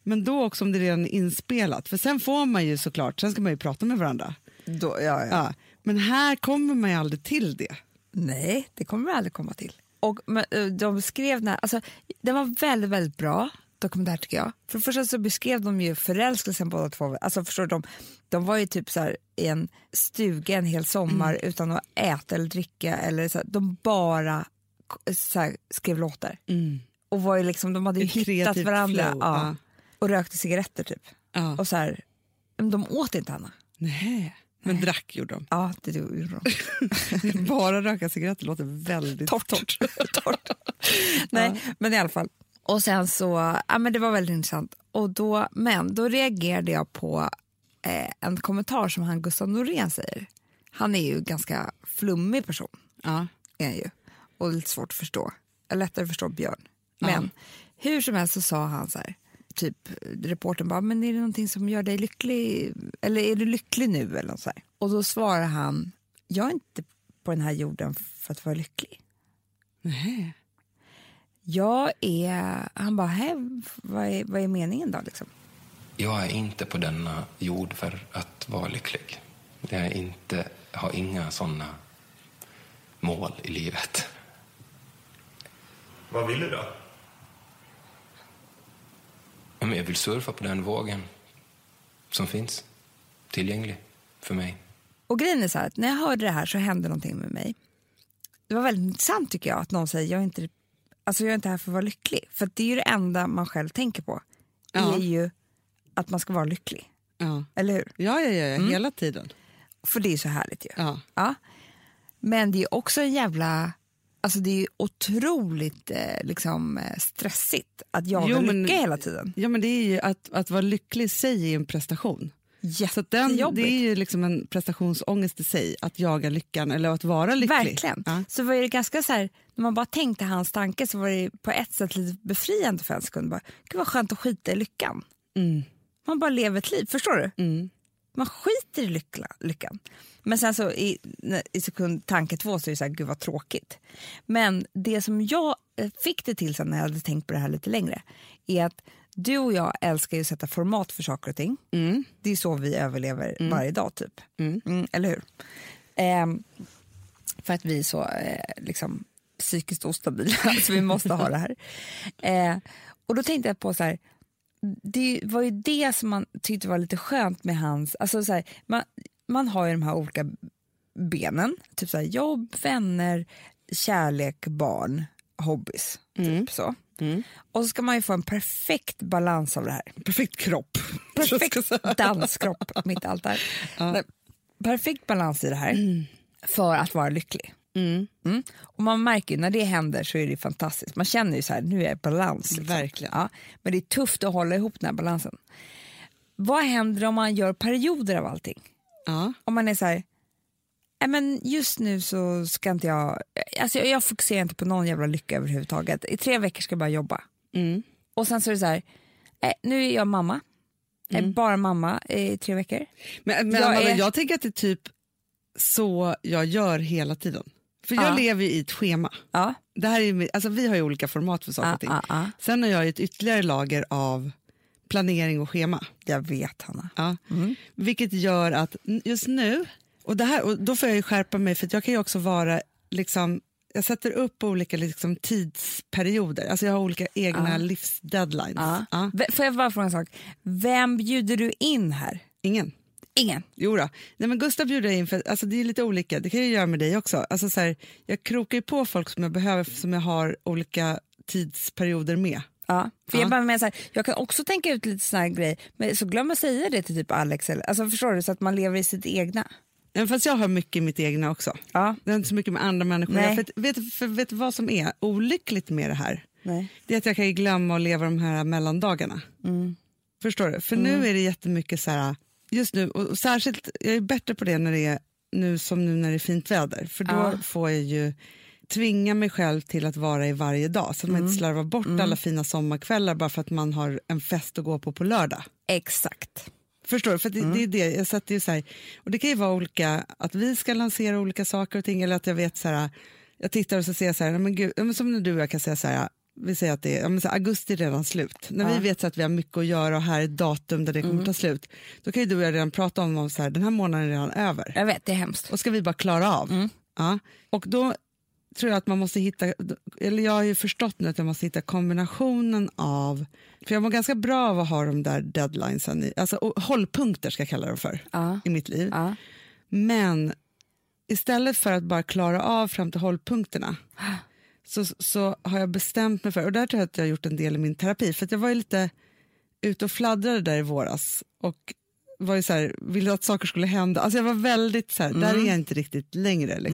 Speaker 1: men då också om det redan är inspelat. För sen får man ju såklart, sen ska man ju prata med varandra.
Speaker 2: Då, ja, ja.
Speaker 1: Ja. Men här kommer man ju aldrig till det.
Speaker 2: Nej, det kommer det aldrig komma till. Och men, eh, de skrev när, alltså, den var väldigt, väldigt bra dokumentär tycker jag. För det första så beskrev de ju förälskelsen båda två. Alltså förstår du, de, de var ju typ så här i en Mm. stuga en hel sommar utan att äta eller dricka eller så här, de bara k- så här, skrev låtar.
Speaker 1: Mm.
Speaker 2: Och var ju liksom, de hade ju
Speaker 1: Ett
Speaker 2: hittat
Speaker 1: kreativt
Speaker 2: varandra.
Speaker 1: flow, ja.
Speaker 2: Ja, och rökte cigaretter typ.
Speaker 1: Ja.
Speaker 2: Och så här, men de åt inte Anna.
Speaker 1: Nej. Men drack gjorde de.
Speaker 2: Ja, det gjorde de.
Speaker 1: Bara röka cigaretter låter väldigt
Speaker 2: torrt. torrt. torrt. Nej, men i alla fall. Och sen så, ja men det var väldigt intressant. Och då, men då reagerade jag på eh, en kommentar som han Gustav Norén säger. Han är ju en ganska flummig person,
Speaker 1: Ja.
Speaker 2: är han ju. Och lite svårt att förstå. Eller Lättare att förstå Björn. Men hur som helst så sa han så här, typ reportern bara, men är det någonting som gör dig lycklig? Eller är du lycklig nu? Eller något så här. Och då svarar han, jag är inte på den här jorden för att vara lycklig.
Speaker 1: Nej.
Speaker 2: Jag är... Han bara, hej, vad, är, vad är meningen då? Liksom.
Speaker 4: Jag är inte på denna jord för att vara lycklig. Jag är inte, har inga såna mål i livet.
Speaker 5: Vad vill du då?
Speaker 4: Men jag vill surfa på den vågen som finns tillgänglig för mig.
Speaker 2: Och grejen är så här, att när jag hörde det här så hände någonting med mig. Det var väldigt intressant tycker jag att någon säger, jag är inte, alltså, jag är inte här för att vara lycklig. För att det är ju det enda man själv tänker på.
Speaker 1: Ja.
Speaker 2: är ju att man ska vara lycklig.
Speaker 1: Ja.
Speaker 2: Eller hur?
Speaker 1: Ja, ja, ja, ja. hela tiden.
Speaker 2: För det är ju så härligt ju.
Speaker 1: Ja.
Speaker 2: Ja. Men det är också en jävla... Alltså det är ju otroligt eh, liksom, eh, stressigt att jaga
Speaker 1: Jo, men-
Speaker 2: lycka hela tiden.
Speaker 1: ja, men det är ju att, att vara lycklig i sig är ju en prestation. Så att den, det
Speaker 2: Jättejobbigt.
Speaker 1: är ju liksom en prestationsångest i sig, att jaga lyckan eller att vara lycklig.
Speaker 2: Verkligen.
Speaker 1: Ja.
Speaker 2: Så var det ganska så här, när man bara tänkte hans tanke så var det på ett sätt lite befriande för en sekund. Bara, Gud vad skönt att skita i lyckan.
Speaker 1: Mm.
Speaker 2: Man bara lever ett liv, förstår du?
Speaker 1: Mm.
Speaker 2: Man skiter i lyckla, lyckan. Men sen så i, när- i sekund tanke två så är det så här, gud vad tråkigt. Men det som jag eh, fick det till sen när jag hade tänkt på det här lite längre är att du och jag älskar ju att sätta format för saker och ting.
Speaker 1: Mm.
Speaker 2: Det är så vi överlever varje dag typ. Mm, eller hur? Ehm, för att vi är så eh, liksom, psykiskt ostabila, så vi måste ha det här. Eh, och då tänkte jag på så här, det var ju det som man tyckte var lite skönt med hans, alltså så här, man, man har ju de här olika benen, typ så här, jobb, vänner, kärlek, barn, hobbys,
Speaker 1: Mm.
Speaker 2: typ så. Och så ska man ju få en perfekt balans av det här.
Speaker 1: Perfekt kropp.
Speaker 2: Perfekt danskropp, mitt altare. Nej, Perfekt balans i det här
Speaker 1: Mm.
Speaker 2: för att vara lycklig. Mm. Och man märker ju när det händer så är det fantastiskt. Man känner ju så här, nu är jag balans. Liksom.
Speaker 1: Verkligen.
Speaker 2: Ja, men det är tufft att hålla ihop den här balansen. Vad händer om man gör perioder av allting?
Speaker 1: Ja.
Speaker 2: Om man är så här, "Nej, men just nu så ska inte jag, alltså jag, jag fokuserar inte på någon jävla lycka överhuvudtaget. I tre veckor ska jag bara jobba.
Speaker 1: Mm.
Speaker 2: Och sen så är det så här, "Nej, nu är jag mamma. Jag är Bara mamma i tre veckor.
Speaker 1: Men, men
Speaker 2: Jag
Speaker 1: jag,
Speaker 2: är-
Speaker 1: jag tänker att det är typ så jag gör hela tiden. För jag
Speaker 2: Ja.
Speaker 1: lever ju i ett schema.
Speaker 2: Ja,
Speaker 1: Det här är, ju- alltså, vi har ju olika format för saker och ting.
Speaker 2: Ah, ah, ah.
Speaker 1: Sen har jag ju ett ytterligare lager av planering och schema.
Speaker 2: jag vet Hanna.
Speaker 1: Ja.
Speaker 2: Mm.
Speaker 1: Vilket gör att n- just nu, och, det här, och då får jag ju skärpa mig för att jag kan ju också vara, liksom, jag sätter upp olika liksom, tidsperioder, alltså jag har olika egna livsdeadlines.
Speaker 2: Ja.
Speaker 1: Ja.
Speaker 2: V- Får jag bara fråga en sak? Vem bjuder du in här?
Speaker 1: Ingen.
Speaker 2: Ingen.
Speaker 1: Jo då. Nej, men Gustav bjuder jag in, för alltså, det är lite olika, det kan jag ju göra med dig också. Alltså, så här, jag krokar ju på folk som jag behöver, som jag har olika tidsperioder med.
Speaker 2: Ja, för
Speaker 1: Ja.
Speaker 2: jag, bara menar så här, jag kan också tänka ut lite sån här grej, men så glömmer jag säga det till typ Alex. Eller, alltså förstår du, så att man lever i sitt egna.
Speaker 1: Även fast jag har mycket i mitt egna också.
Speaker 2: Ja.
Speaker 1: Det är inte så mycket med andra människor.
Speaker 2: Nej.
Speaker 1: Jag För, att- vet, för, vet du vad som är olyckligt med det här?
Speaker 2: Nej.
Speaker 1: Det är att jag kan ju glömma att leva de här mellandagarna.
Speaker 2: Mm.
Speaker 1: Förstår du? För nu är det jättemycket så här, just nu, och och särskilt, jag är bättre på det när det är nu som nu när det är fint väder. För då
Speaker 2: Ja.
Speaker 1: får jag ju tvinga mig själv till att vara i varje dag så att
Speaker 2: Mm.
Speaker 1: man inte slarvar bort alla fina sommarkvällar bara för att man har en fest att gå på på lördag.
Speaker 2: Exakt.
Speaker 1: Förstår du? För det, det är det. Jag satt ju så här, och det kan ju vara olika, att vi ska lansera olika saker och ting, eller att jag vet så här, jag tittar och så ser jag så här, nej, men gud, ja, men som när du och jag kan säga så här, vi säger att det är, ja, men så här, augusti är redan slut. När vi vet så att vi har mycket att göra och här är ett datum där det kommer ta slut, då kan ju du och jag redan prata om, om så här, den här månaden är redan över.
Speaker 2: Jag vet, det är hemskt.
Speaker 1: Och ska vi bara klara av.
Speaker 2: Mm.
Speaker 1: Ja. Och då tror jag att man måste hitta, eller jag har ju förstått nu att jag måste hitta kombinationen av, för jag mår ganska bra av att ha de där deadlinesen, i, alltså och hållpunkter ska jag kalla dem för
Speaker 2: Ja.
Speaker 1: i mitt liv.
Speaker 2: Ja.
Speaker 1: Men istället för att bara klara av fram till hållpunkterna så, så har jag bestämt mig för, och där tror jag att jag har gjort en del i min terapi, för att jag var ju lite ute och fladdrade där i våras och var ju så här, ville att saker skulle hända. Alltså jag var väldigt så här, där är jag inte riktigt längre. Liksom.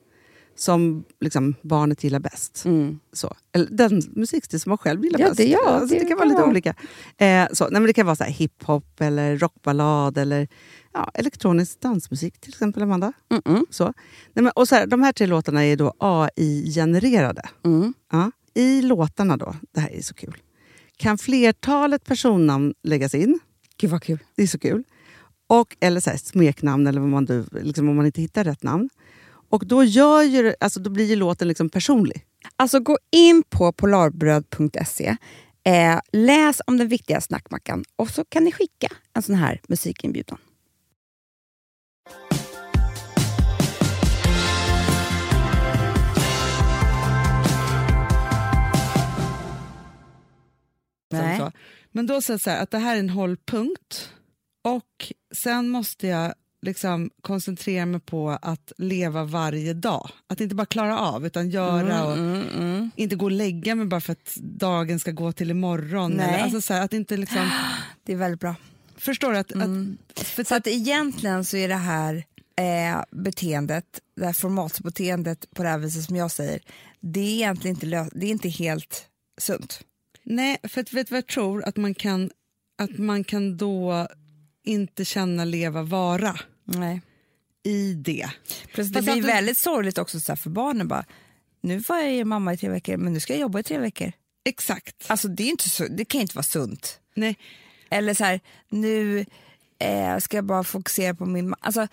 Speaker 6: som liksom, barnet gillar bäst. Så. Eller den musikstil som man själv gillar
Speaker 2: Ja,
Speaker 6: bäst.
Speaker 2: det- ja,
Speaker 6: alltså, det,
Speaker 2: det
Speaker 6: kan vara
Speaker 2: kan
Speaker 6: lite
Speaker 2: vara.
Speaker 6: olika. Eh, så. Nej, men det kan vara så här hiphop, eller rockballad eller ja, elektronisk dansmusik till exempel, Amanda. Så. Nej, men, och så här, de här tre låtarna är då AI-genererade. Ja. I låtarna då, det här är så kul, kan flertalet personnamn läggas in.
Speaker 2: Gud vad kul.
Speaker 6: Det är så kul. Och, eller så här, smeknamn, eller vad man, du- liksom, om man inte hittar rätt namn. Och då, gör ju, det- alltså, då blir ju låten liksom personlig.
Speaker 2: Alltså gå in på polarbröd.se, eh, läs om den viktiga snackmackan och så kan ni skicka en sån här musikinbjudan.
Speaker 1: Liksom
Speaker 2: Nej.
Speaker 1: Så. Men då säger jag så här, att det här är en hållpunkt och sen måste jag liksom koncentrera mig på att leva varje dag. Att inte bara klara av, utan göra och
Speaker 6: Mm.
Speaker 1: inte gå och lägga mig bara för att dagen ska gå till imorgon.
Speaker 2: Nej.
Speaker 1: Eller, alltså så här, att inte liksom,
Speaker 2: Det är väldigt bra.
Speaker 1: förstår du? Att,
Speaker 6: Mm.
Speaker 1: att, för
Speaker 2: Så att egentligen så är det här eh, beteendet, det här formatbeteendet på det här viset som jag säger, det är egentligen inte, lö- det är inte helt sunt.
Speaker 1: Nej, för att, vet du vad jag tror? Att man kan, att man kan då inte känna leva vara
Speaker 2: Nej.
Speaker 1: i det.
Speaker 2: Plus det
Speaker 1: Fast
Speaker 2: blir
Speaker 1: att du-
Speaker 2: väldigt sorgligt också så här för barnen bara, nu var jag ju mamma i tre veckor men nu ska jag jobba i tre veckor.
Speaker 1: Exakt.
Speaker 2: Alltså det, är inte så, det kan ju inte vara sunt.
Speaker 1: Nej,
Speaker 2: Eller så här, nu eh, ska jag bara fokusera på min ma- alltså,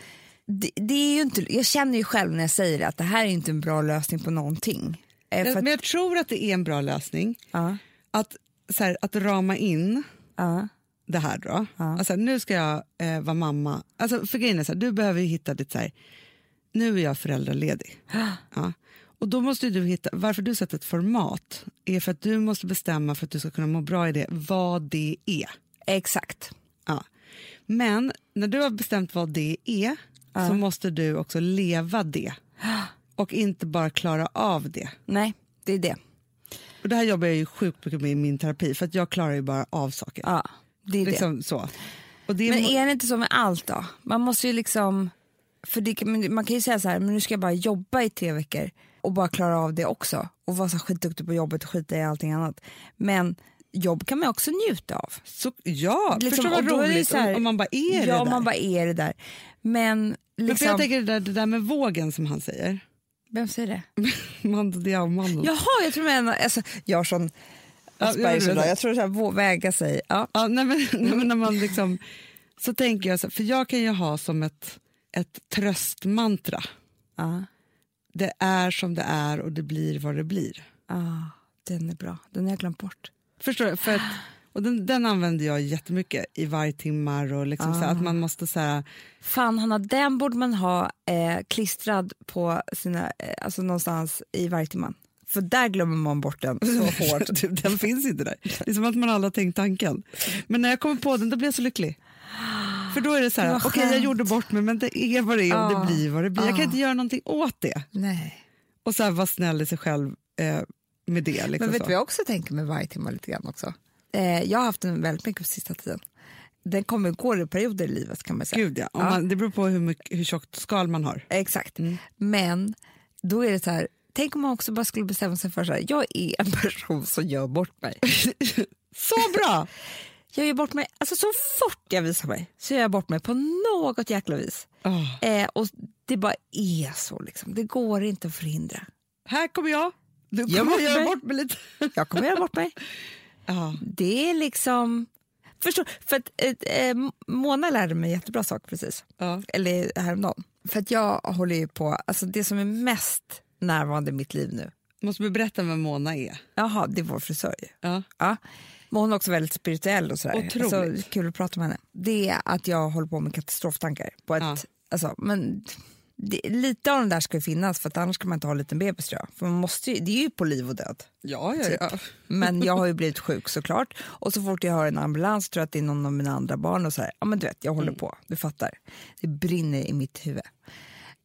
Speaker 2: det, det är ju inte, Jag känner ju själv när jag säger det att det här är inte en bra lösning på någonting. Eh, för
Speaker 1: jag,
Speaker 2: att,
Speaker 1: men jag tror att det är en bra lösning
Speaker 2: ja,
Speaker 1: att, så här, att rama in
Speaker 2: ja,
Speaker 1: det här då. Alltså, nu ska jag eh, vara mamma. Alltså, för grejen är så här, du behöver ju hitta ditt så här, nu är jag föräldraledig. ja. Och då måste ju du hitta, varför du sätter ett format är för att du måste bestämma för att du ska kunna må bra i det, vad det är.
Speaker 2: exakt.
Speaker 1: Ja. Men när du har bestämt vad det är så måste du också leva det och inte bara klara av det.
Speaker 2: Nej, det är det.
Speaker 1: Och Det här jobbar jag ju sjukt mycket med i min terapi för att jag klarar ju bara av saker.
Speaker 2: Ja, det är det.
Speaker 1: liksom så. Och det
Speaker 2: Men
Speaker 1: må-
Speaker 2: är det inte så med allt då? Man måste ju liksom, för det, kan- men man kan ju säga så här, men nu ska jag bara jobba i tre veckor och bara klara av det också och vara så skitduktig på jobbet och skita i allting annat. Men jobb kan man också njuta av.
Speaker 1: så, ja,
Speaker 2: Liksom,
Speaker 1: förstår du vad
Speaker 2: och då är det
Speaker 1: roligt
Speaker 2: så här-
Speaker 1: om, om man bara är
Speaker 2: ja,
Speaker 1: det
Speaker 2: om
Speaker 1: där.
Speaker 2: man bara är det där. Men
Speaker 1: Men för
Speaker 2: liksom,
Speaker 1: jag tänker det där, det där med vågen som han säger.
Speaker 2: vem säger det?
Speaker 1: Mm. Mando Diao-mannen.
Speaker 2: Jaha, jag tror men, alltså, jag har sån
Speaker 1: Ja, ja,
Speaker 2: Aspergers
Speaker 1: du vet
Speaker 2: idag.
Speaker 1: det.
Speaker 2: jag tror så här, vå- väga sig. Ja.
Speaker 1: Ja, nej, men, nej, men när man liksom, så tänker jag så här, för jag kan ju ha som ett, ett tröstmantra.
Speaker 2: Ja.
Speaker 1: det är som det är och det blir vad det blir.
Speaker 2: Ah, den är bra, den har jag glömt bort.
Speaker 1: Förstår du? För att, och den, den använder jag jättemycket i varje timmar och liksom så här,
Speaker 2: Ah.
Speaker 1: att man måste så här,
Speaker 2: Fan Hanna, den borde man ha eh, klistrad på sina, eh, alltså någonstans i vargtimman. För där glömmer man bort den så hårt.
Speaker 1: Typ, den finns inte där. Det är som liksom att man aldrig har tänkt tanken. Men när jag kommer på den då blir jag så lycklig. För då är det så
Speaker 2: Det
Speaker 1: här,
Speaker 2: var
Speaker 1: okej jag
Speaker 2: skönt. Ah.
Speaker 1: gjorde bort mig men det är vad det är och
Speaker 2: Ja.
Speaker 1: det blir vad det blir. Jag kan
Speaker 2: Ja.
Speaker 1: inte göra någonting åt det.
Speaker 2: Nej.
Speaker 1: Och så här, vara snäll i sig själv eh, med det. Liksom
Speaker 2: Men vet du
Speaker 1: så.
Speaker 2: vad jag också tänker med vargtimman lite grann också? Eh, jag har haft den väldigt mycket på sista tiden. Den kommer går i perioder i livet kan man säga.
Speaker 1: Gud ja, Om
Speaker 2: Ja.
Speaker 1: Man, det beror på hur, mycket, hur tjockt skal man har.
Speaker 2: Exakt.
Speaker 1: Mm.
Speaker 2: Men då är det så här, tänk om man också bara skulle bestämma sig för så här, jag är en person som gör bort mig.
Speaker 1: Så bra!
Speaker 2: Jag gör bort mig, alltså så fort jag visar mig så gör jag bort mig på något jäkla vis.
Speaker 1: Ah,
Speaker 2: Eh, och det bara är så liksom, det går inte att förhindra.
Speaker 1: här kommer jag. Nu kommer
Speaker 2: Gör
Speaker 1: jag
Speaker 2: bort
Speaker 1: göra
Speaker 2: mig.
Speaker 1: bort mig lite.
Speaker 2: Jag kommer göra bort mig.
Speaker 1: Ja.
Speaker 2: Det är liksom, förstår, för att eh, eh, Mona lärde mig en jättebra sak precis.
Speaker 1: Ja.
Speaker 2: eller häromdagen. För att jag håller ju på, alltså det som är mest närvarande i mitt liv nu.
Speaker 1: Måste vi berätta vem Mona är?
Speaker 2: Jaha, det är vår frisör ju.
Speaker 1: Ja.
Speaker 2: Ja. Men hon är också väldigt spirituell och sådär.
Speaker 1: Otroligt.
Speaker 2: Alltså, kul att prata med henne. Det är att jag håller på med katastroftankar. På ett,
Speaker 1: Ja.
Speaker 2: alltså, men det, lite av den där ska ju finnas för att annars kan man inte ha en liten bebis tror jag. För man måste ju, det är ju på liv och död.
Speaker 1: Ja, ja,
Speaker 2: Typ. Men jag har ju blivit sjuk såklart. Och så fort jag hör en ambulans tror jag att det är någon av mina andra barn och så här. Ja men du vet, jag håller
Speaker 1: Mm.
Speaker 2: på, du fattar. Det brinner i mitt huvud.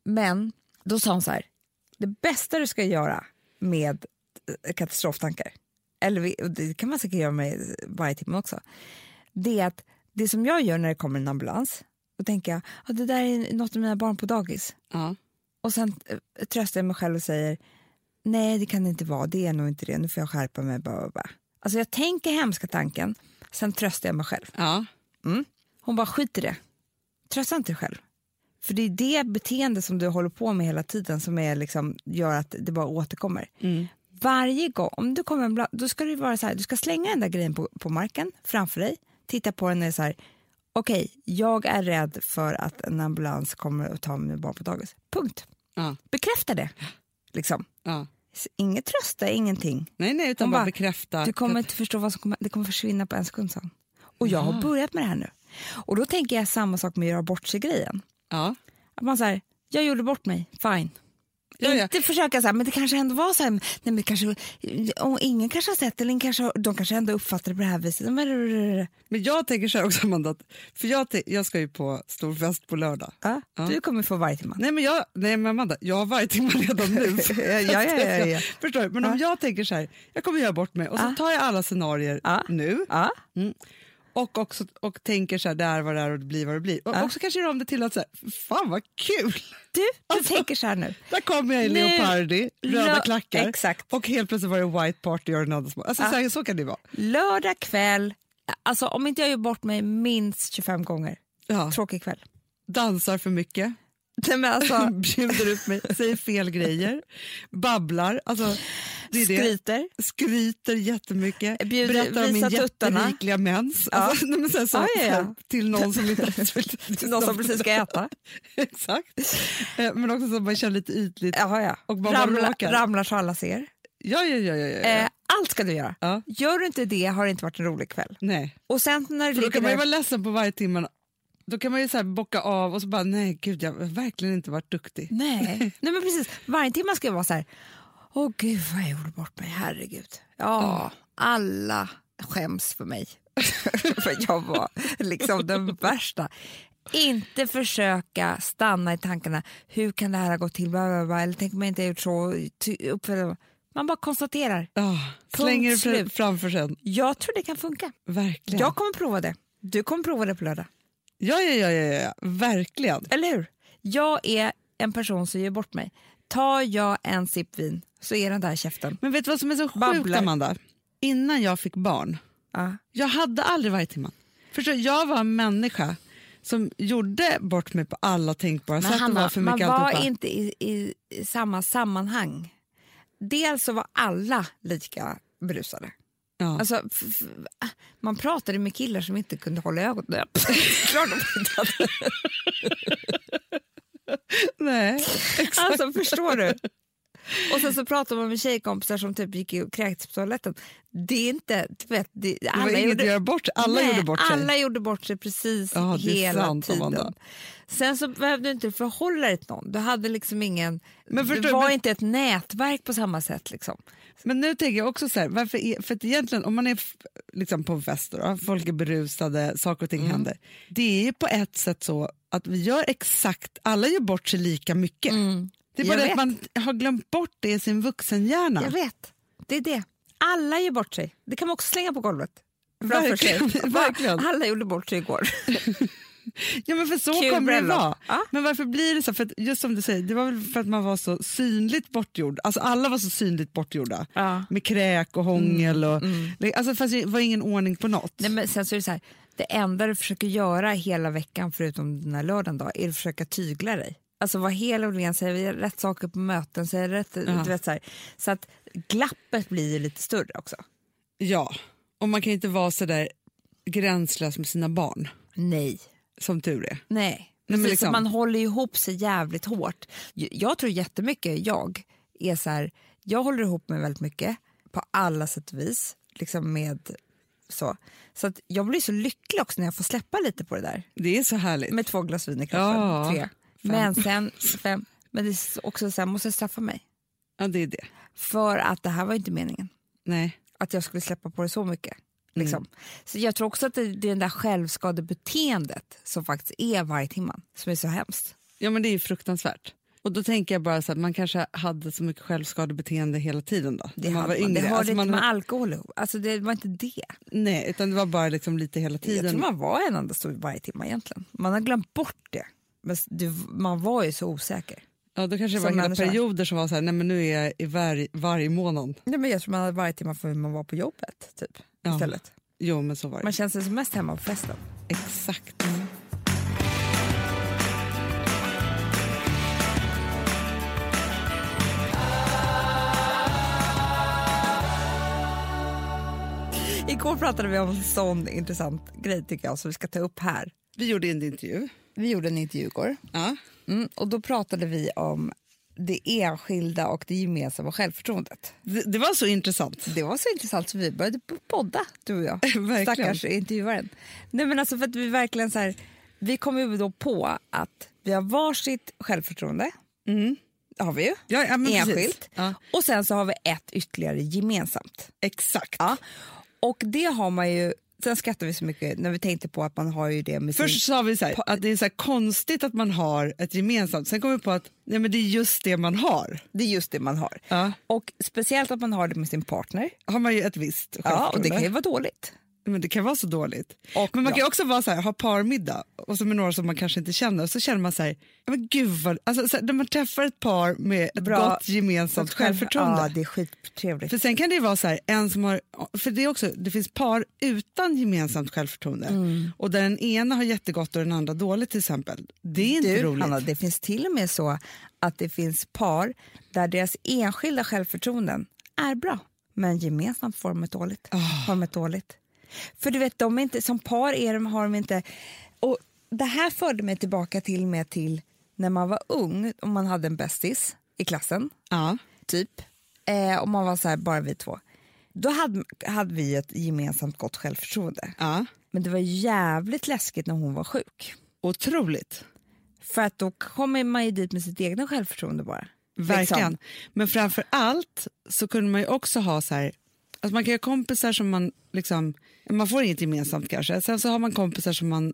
Speaker 2: Men då sa hon så här, det bästa du ska göra med eh, katastroftankar, eller vi- och det kan man säkert göra med varje timme också, det är att det som jag gör när det kommer en ambulans, då tänker jag, ja det där är något av mina barn på dagis.
Speaker 1: ja.
Speaker 2: Och sen eh, tröstar jag mig själv och säger nej det kan det inte vara, det är nog inte det, nu får jag skärpa mig. Bla, bla, bla. Alltså jag tänker hemska tanken, sen tröstar jag mig själv.
Speaker 1: ja.
Speaker 2: Mm. Hon bara skit i det, trösta inte dig själv. För det är det beteende som du håller på med hela tiden som är liksom, gör att det bara återkommer.
Speaker 1: Mm.
Speaker 2: Varje gång, om du kommer en bla, då ska det vara så här, du ska slänga den där grejen på, på marken framför dig, titta på den och så här, okej, jag är rädd för att en ambulans kommer att ta mig barn på dagis. Punkt
Speaker 1: ja,
Speaker 2: bekräfta det. Liksom.
Speaker 1: ja.
Speaker 2: S- Inget trösta, ingenting.
Speaker 1: Nej, nej, utan
Speaker 2: Hon
Speaker 1: bara,
Speaker 2: bara,
Speaker 1: bekräfta.
Speaker 2: Du kommer inte förstå vad som kommer, det kommer försvinna på en sekund, sa hon. Och jag har börjat med det här nu. Och då tänker jag samma sak med att göra bort sig-grejen.
Speaker 1: Ja,
Speaker 2: Att man säger, jag gjorde bort mig, fine.
Speaker 1: Ja, ja.
Speaker 2: Inte försöka så här, men det kanske ändå var så här, nej, men det kanske, och ingen kanske har sett det, eller ingen kanske, har- de kanske ändå uppfattar det på det här viset. Men-
Speaker 1: Men jag tänker så här också, Amanda, att- för jag, te- jag ska ju på stor fest på lördag.
Speaker 2: Ja, Du kommer få varje timme.
Speaker 1: Nej men, jag, nej men Amanda, jag har varje timme redan nu.
Speaker 2: Ja, ja, ja, ja, ja.
Speaker 1: Förstår du? Men om jag tänker så här, jag kommer göra bort mig och så tar jag alla scenarier
Speaker 2: Ja.
Speaker 1: nu Mm.
Speaker 2: Ja.
Speaker 1: och, också, och tänker så här, det är vad det är och det blir vad det blir. Och också kanske gör om det till att så här, fan vad kul!
Speaker 2: Du, du tänker så här nu.
Speaker 1: Där kommer jag i
Speaker 2: Nu-
Speaker 1: leopardi, röda
Speaker 2: Lö-
Speaker 1: klackar
Speaker 2: Exakt. Ah.
Speaker 1: och helt plötsligt var det white party och den andra små. Alltså, så, här, så kan det vara.
Speaker 2: Lördag kväll, alltså om inte jag gör bort mig minst 25 gånger,
Speaker 1: Ja.
Speaker 2: tråkig kväll.
Speaker 1: Dansar för mycket,
Speaker 2: Nej, men alltså,
Speaker 1: bjuder upp mig, säger fel grejer, babblar. Alltså, det är det.
Speaker 2: skryter.
Speaker 1: skryter jättemycket,
Speaker 2: Eh, Bjuder-
Speaker 1: berättar om min
Speaker 2: visar tuttarna.
Speaker 1: jätterikliga mens.
Speaker 2: Ja. Ah,
Speaker 1: Alltså, nej, men så här, så,
Speaker 2: Ja, ja, ja.
Speaker 1: så här, Till någon som inte ens vill
Speaker 2: Till någon som precis ska äta.
Speaker 1: Exakt. Eh, Men också så att man känner lite ytligt.
Speaker 2: Jaha, ja.
Speaker 1: Och bara
Speaker 2: Ramla,
Speaker 1: råkar.
Speaker 2: ramlar så alla ser.
Speaker 1: Ja, ja, ja. ja, ja.
Speaker 2: Eh, allt ska du göra.
Speaker 1: Ja.
Speaker 2: Gör du inte det har det inte varit en rolig kväll.
Speaker 1: Nej.
Speaker 2: Och sen när du
Speaker 1: För då
Speaker 2: ligger
Speaker 1: kan man ju
Speaker 2: där...
Speaker 1: vara ledsen på varje timme. Då kan man ju så här bocka av och så bara, nej gud, jag har verkligen inte varit duktig.
Speaker 2: Nej. Nej, men precis. Varje timme ska jag vara så här... Åh gud vad jag gjorde bort mig, herregud.
Speaker 1: Mm.
Speaker 2: Ja, alla skäms för mig. för jag var liksom den värsta. Inte försöka stanna i tankarna, hur kan det här ha gått till? Bla, bla, bla. Eller tänk om jag inte har gjort så. ty- uppför- Man bara konstaterar.
Speaker 1: Ja, Ah, slänger det fr-
Speaker 2: slut.
Speaker 1: framför sen.
Speaker 2: Jag tror det kan funka.
Speaker 1: Verkligen.
Speaker 2: Jag kommer prova det. Du kommer prova det på lördag.
Speaker 1: Ja, ja, ja, ja, ja. verkligen.
Speaker 2: Eller hur? Jag är en person som ger bort mig. Tar jag en sipp vin så är den där i käften.
Speaker 1: Men vet du vad som är så sjukt,
Speaker 2: Babblar.
Speaker 1: Amanda? Innan jag fick barn,
Speaker 2: Ja.
Speaker 1: Jag hade aldrig varje timme. Förstår, du? jag var en människa som gjorde bort mig på alla tänkbara sätt. och var för
Speaker 2: man
Speaker 1: mycket
Speaker 2: var
Speaker 1: alltihopa.
Speaker 2: inte i, i, i samma sammanhang. Dels så var alla lika berusade.
Speaker 1: Ja.
Speaker 2: Alltså, f- f- man pratade med killar som inte kunde hålla ögonen öppna. Klart de inte hade.
Speaker 1: Nej.
Speaker 2: Alltså, förstår du? Och sen så pratade man med tjejkompisar som typ gick och kräktes på toaletten. Det är inte... Du vet, det,
Speaker 1: Det
Speaker 2: alla
Speaker 1: var inget
Speaker 2: gjorde-
Speaker 1: att göra bort. Alla
Speaker 2: Nej,
Speaker 1: gjorde bort sig.
Speaker 2: alla gjorde bort sig precis
Speaker 1: Ja, det är
Speaker 2: hela
Speaker 1: sant, Amanda.
Speaker 2: tiden. Sen så behövde du inte förhålla dig till någon. Du hade liksom ingen...
Speaker 1: Men förstår
Speaker 2: det
Speaker 1: du,
Speaker 2: var
Speaker 1: men-
Speaker 2: inte ett nätverk på samma sätt. Liksom.
Speaker 1: Men nu tänker jag också så här, varför är, för att egentligen om man är f- liksom på en fest, då, folk är berusade, saker och
Speaker 2: Mm.
Speaker 1: ting händer. Det är ju på ett sätt så att vi gör exakt, alla gör bort sig lika mycket. Det är bara
Speaker 2: Mm. Jag
Speaker 1: det att
Speaker 2: vet.
Speaker 1: man har glömt bort det i sin vuxenhjärna.
Speaker 2: Jag vet, det är det. Alla gör bort sig. Det kan man också slänga på golvet. Framför
Speaker 1: Verkligen,
Speaker 2: sig.
Speaker 1: verkligen.
Speaker 2: Alla gjorde bort sig igår.
Speaker 1: Ja, men för så
Speaker 2: Kul
Speaker 1: kommer det
Speaker 2: bröllop.
Speaker 1: vara.
Speaker 2: Ja.
Speaker 1: Men varför blir det så? För att, just som du säger, det var väl för att man var så synligt bortgjord. Alltså alla var så synligt bortgjorda.
Speaker 2: Ja. Mm.
Speaker 1: Med kräk och hångel. Och, Alltså fast det var ingen ordning på något.
Speaker 2: Nej, men sen så är det så här, det enda du försöker göra hela veckan förutom den här lördagen då, är att försöka tygla dig. Alltså vara hel och ren, säga rätt saker på möten, säga rätt, du vet så, här. så att glappet blir ju lite större också.
Speaker 1: Ja, och man kan ju inte vara så där gränslös med sina barn.
Speaker 2: Nej.
Speaker 1: Som tur är.
Speaker 2: Nej.
Speaker 1: men
Speaker 2: Precis,
Speaker 1: liksom-
Speaker 2: så Man håller ihop sig jävligt hårt. Jag, jag tror jättemycket jag är så här, jag håller ihop mig väldigt mycket på alla sätt och vis. Liksom med så. Så att jag blir så lycklig också när jag får släppa lite på det där.
Speaker 1: Det är så härligt.
Speaker 2: Med två glas vin i kroppen.
Speaker 1: Ja,
Speaker 2: tre. Men sen, fem. Men det är så- också så här, måste jag straffa mig.
Speaker 1: Ja, det är det.
Speaker 2: För att det här var ju inte meningen.
Speaker 1: Nej.
Speaker 2: Att jag skulle släppa på det så mycket. Liksom.
Speaker 1: Mm.
Speaker 2: Så jag tror också att det, det är det där självskadebeteendet som faktiskt är varje timman som är så hemskt.
Speaker 1: Ja, men det är ju fruktansvärt. Och då tänker jag bara så att man kanske hade så mycket självskadebeteende hela tiden då. när
Speaker 2: Det, hade man. det
Speaker 1: yngre.
Speaker 2: hörde
Speaker 1: Alltså,
Speaker 2: inte
Speaker 1: man-
Speaker 2: med alkohol ihop. alltså, Det var inte det.
Speaker 1: Nej, utan det var bara liksom lite hela
Speaker 2: Jag
Speaker 1: tiden.
Speaker 2: tror man var en enda stor varje timma egentligen. Man har glömt bort det. Men s- det, man var ju så osäker.
Speaker 1: Ja, då kanske det var
Speaker 2: Som
Speaker 1: hela
Speaker 2: människa.
Speaker 1: perioder som var så här, nej men nu är jag i varg, varje månad.
Speaker 2: Nej, men jag tror man hade varje timma för hur man var på jobbet typ,
Speaker 1: Ja.
Speaker 2: istället.
Speaker 1: Jo, men så var det.
Speaker 2: Man känner sig som mest hemma på festen.
Speaker 1: Exakt. Mm.
Speaker 2: Igår pratade vi om en sån intressant grej tycker jag som vi ska ta upp här.
Speaker 1: Vi gjorde en intervju.
Speaker 2: Vi gjorde en intervju igår
Speaker 1: Ja.
Speaker 2: mm, och då pratade vi om det enskilda och det gemensamma självförtroendet.
Speaker 1: Det, det var så intressant.
Speaker 2: Det var så intressant så vi började podda, du och jag.
Speaker 1: Verkligen.
Speaker 2: Stackars intervjuaren. Nej, men alltså för att vi verkligen så här, vi kom ju då på att vi har varsitt självförtroende. har vi ju.
Speaker 1: Ja, ja, men precis.
Speaker 2: enskilt.
Speaker 1: Ja.
Speaker 2: Och sen så har vi ett ytterligare gemensamt.
Speaker 1: Exakt.
Speaker 2: Ja. Och det har man ju, sen skrattar vi så mycket när vi tänkte på att man har ju det med
Speaker 1: Först
Speaker 2: sin...
Speaker 1: sa vi så här, att det är så här konstigt att man har ett gemensamt. Sen kom vi på att nej, men det är just det man har.
Speaker 2: Det är just det man har.
Speaker 1: Ja.
Speaker 2: Och speciellt att man har det med sin partner.
Speaker 1: har man ju ett visst
Speaker 2: Ja, och det kan ju
Speaker 1: självförtroende.
Speaker 2: vara dåligt.
Speaker 1: Men det kan vara så dåligt.
Speaker 2: Och
Speaker 1: men man
Speaker 2: bra.
Speaker 1: kan ju också vara så här, ha parmiddag och så med några som man kanske inte känner. Så känner man så här, ja, men gud vad, alltså, så här, när man träffar ett par med ett
Speaker 2: Bra.
Speaker 1: gott gemensamt självförtroende.
Speaker 2: Ja, det är skittrevligt.
Speaker 1: För sen kan det ju vara så här, en som har, för det är också, det finns par utan gemensamt självförtroende
Speaker 2: Mm.
Speaker 1: och där den ena har jättegott och den andra dåligt till exempel. Det är inte
Speaker 2: du,
Speaker 1: roligt.
Speaker 2: Hanna, det finns till och med så att det finns par där deras enskilda självförtroenden är bra, men gemensamt får de ett dåligt. Har de ett dåligt. För du vet, de är inte, som par är de, har de inte... Och det här förde mig tillbaka till med till när man var ung och man hade en bästis i klassen
Speaker 1: Ja.
Speaker 2: typ. Eh, och man var så här, bara vi två. Då hade, hade vi ett gemensamt gott självförtroende.
Speaker 1: ja,
Speaker 2: Men det var jävligt läskigt när hon var sjuk.
Speaker 1: otroligt.
Speaker 2: För att då kommer man ju dit med sitt egna självförtroende bara.
Speaker 1: Verkligen.
Speaker 2: Liksom.
Speaker 1: Men framför allt så kunde man ju också ha så här, att man kan ha kompisar som man liksom, man får inget gemensamt kanske, sen så har man kompisar som man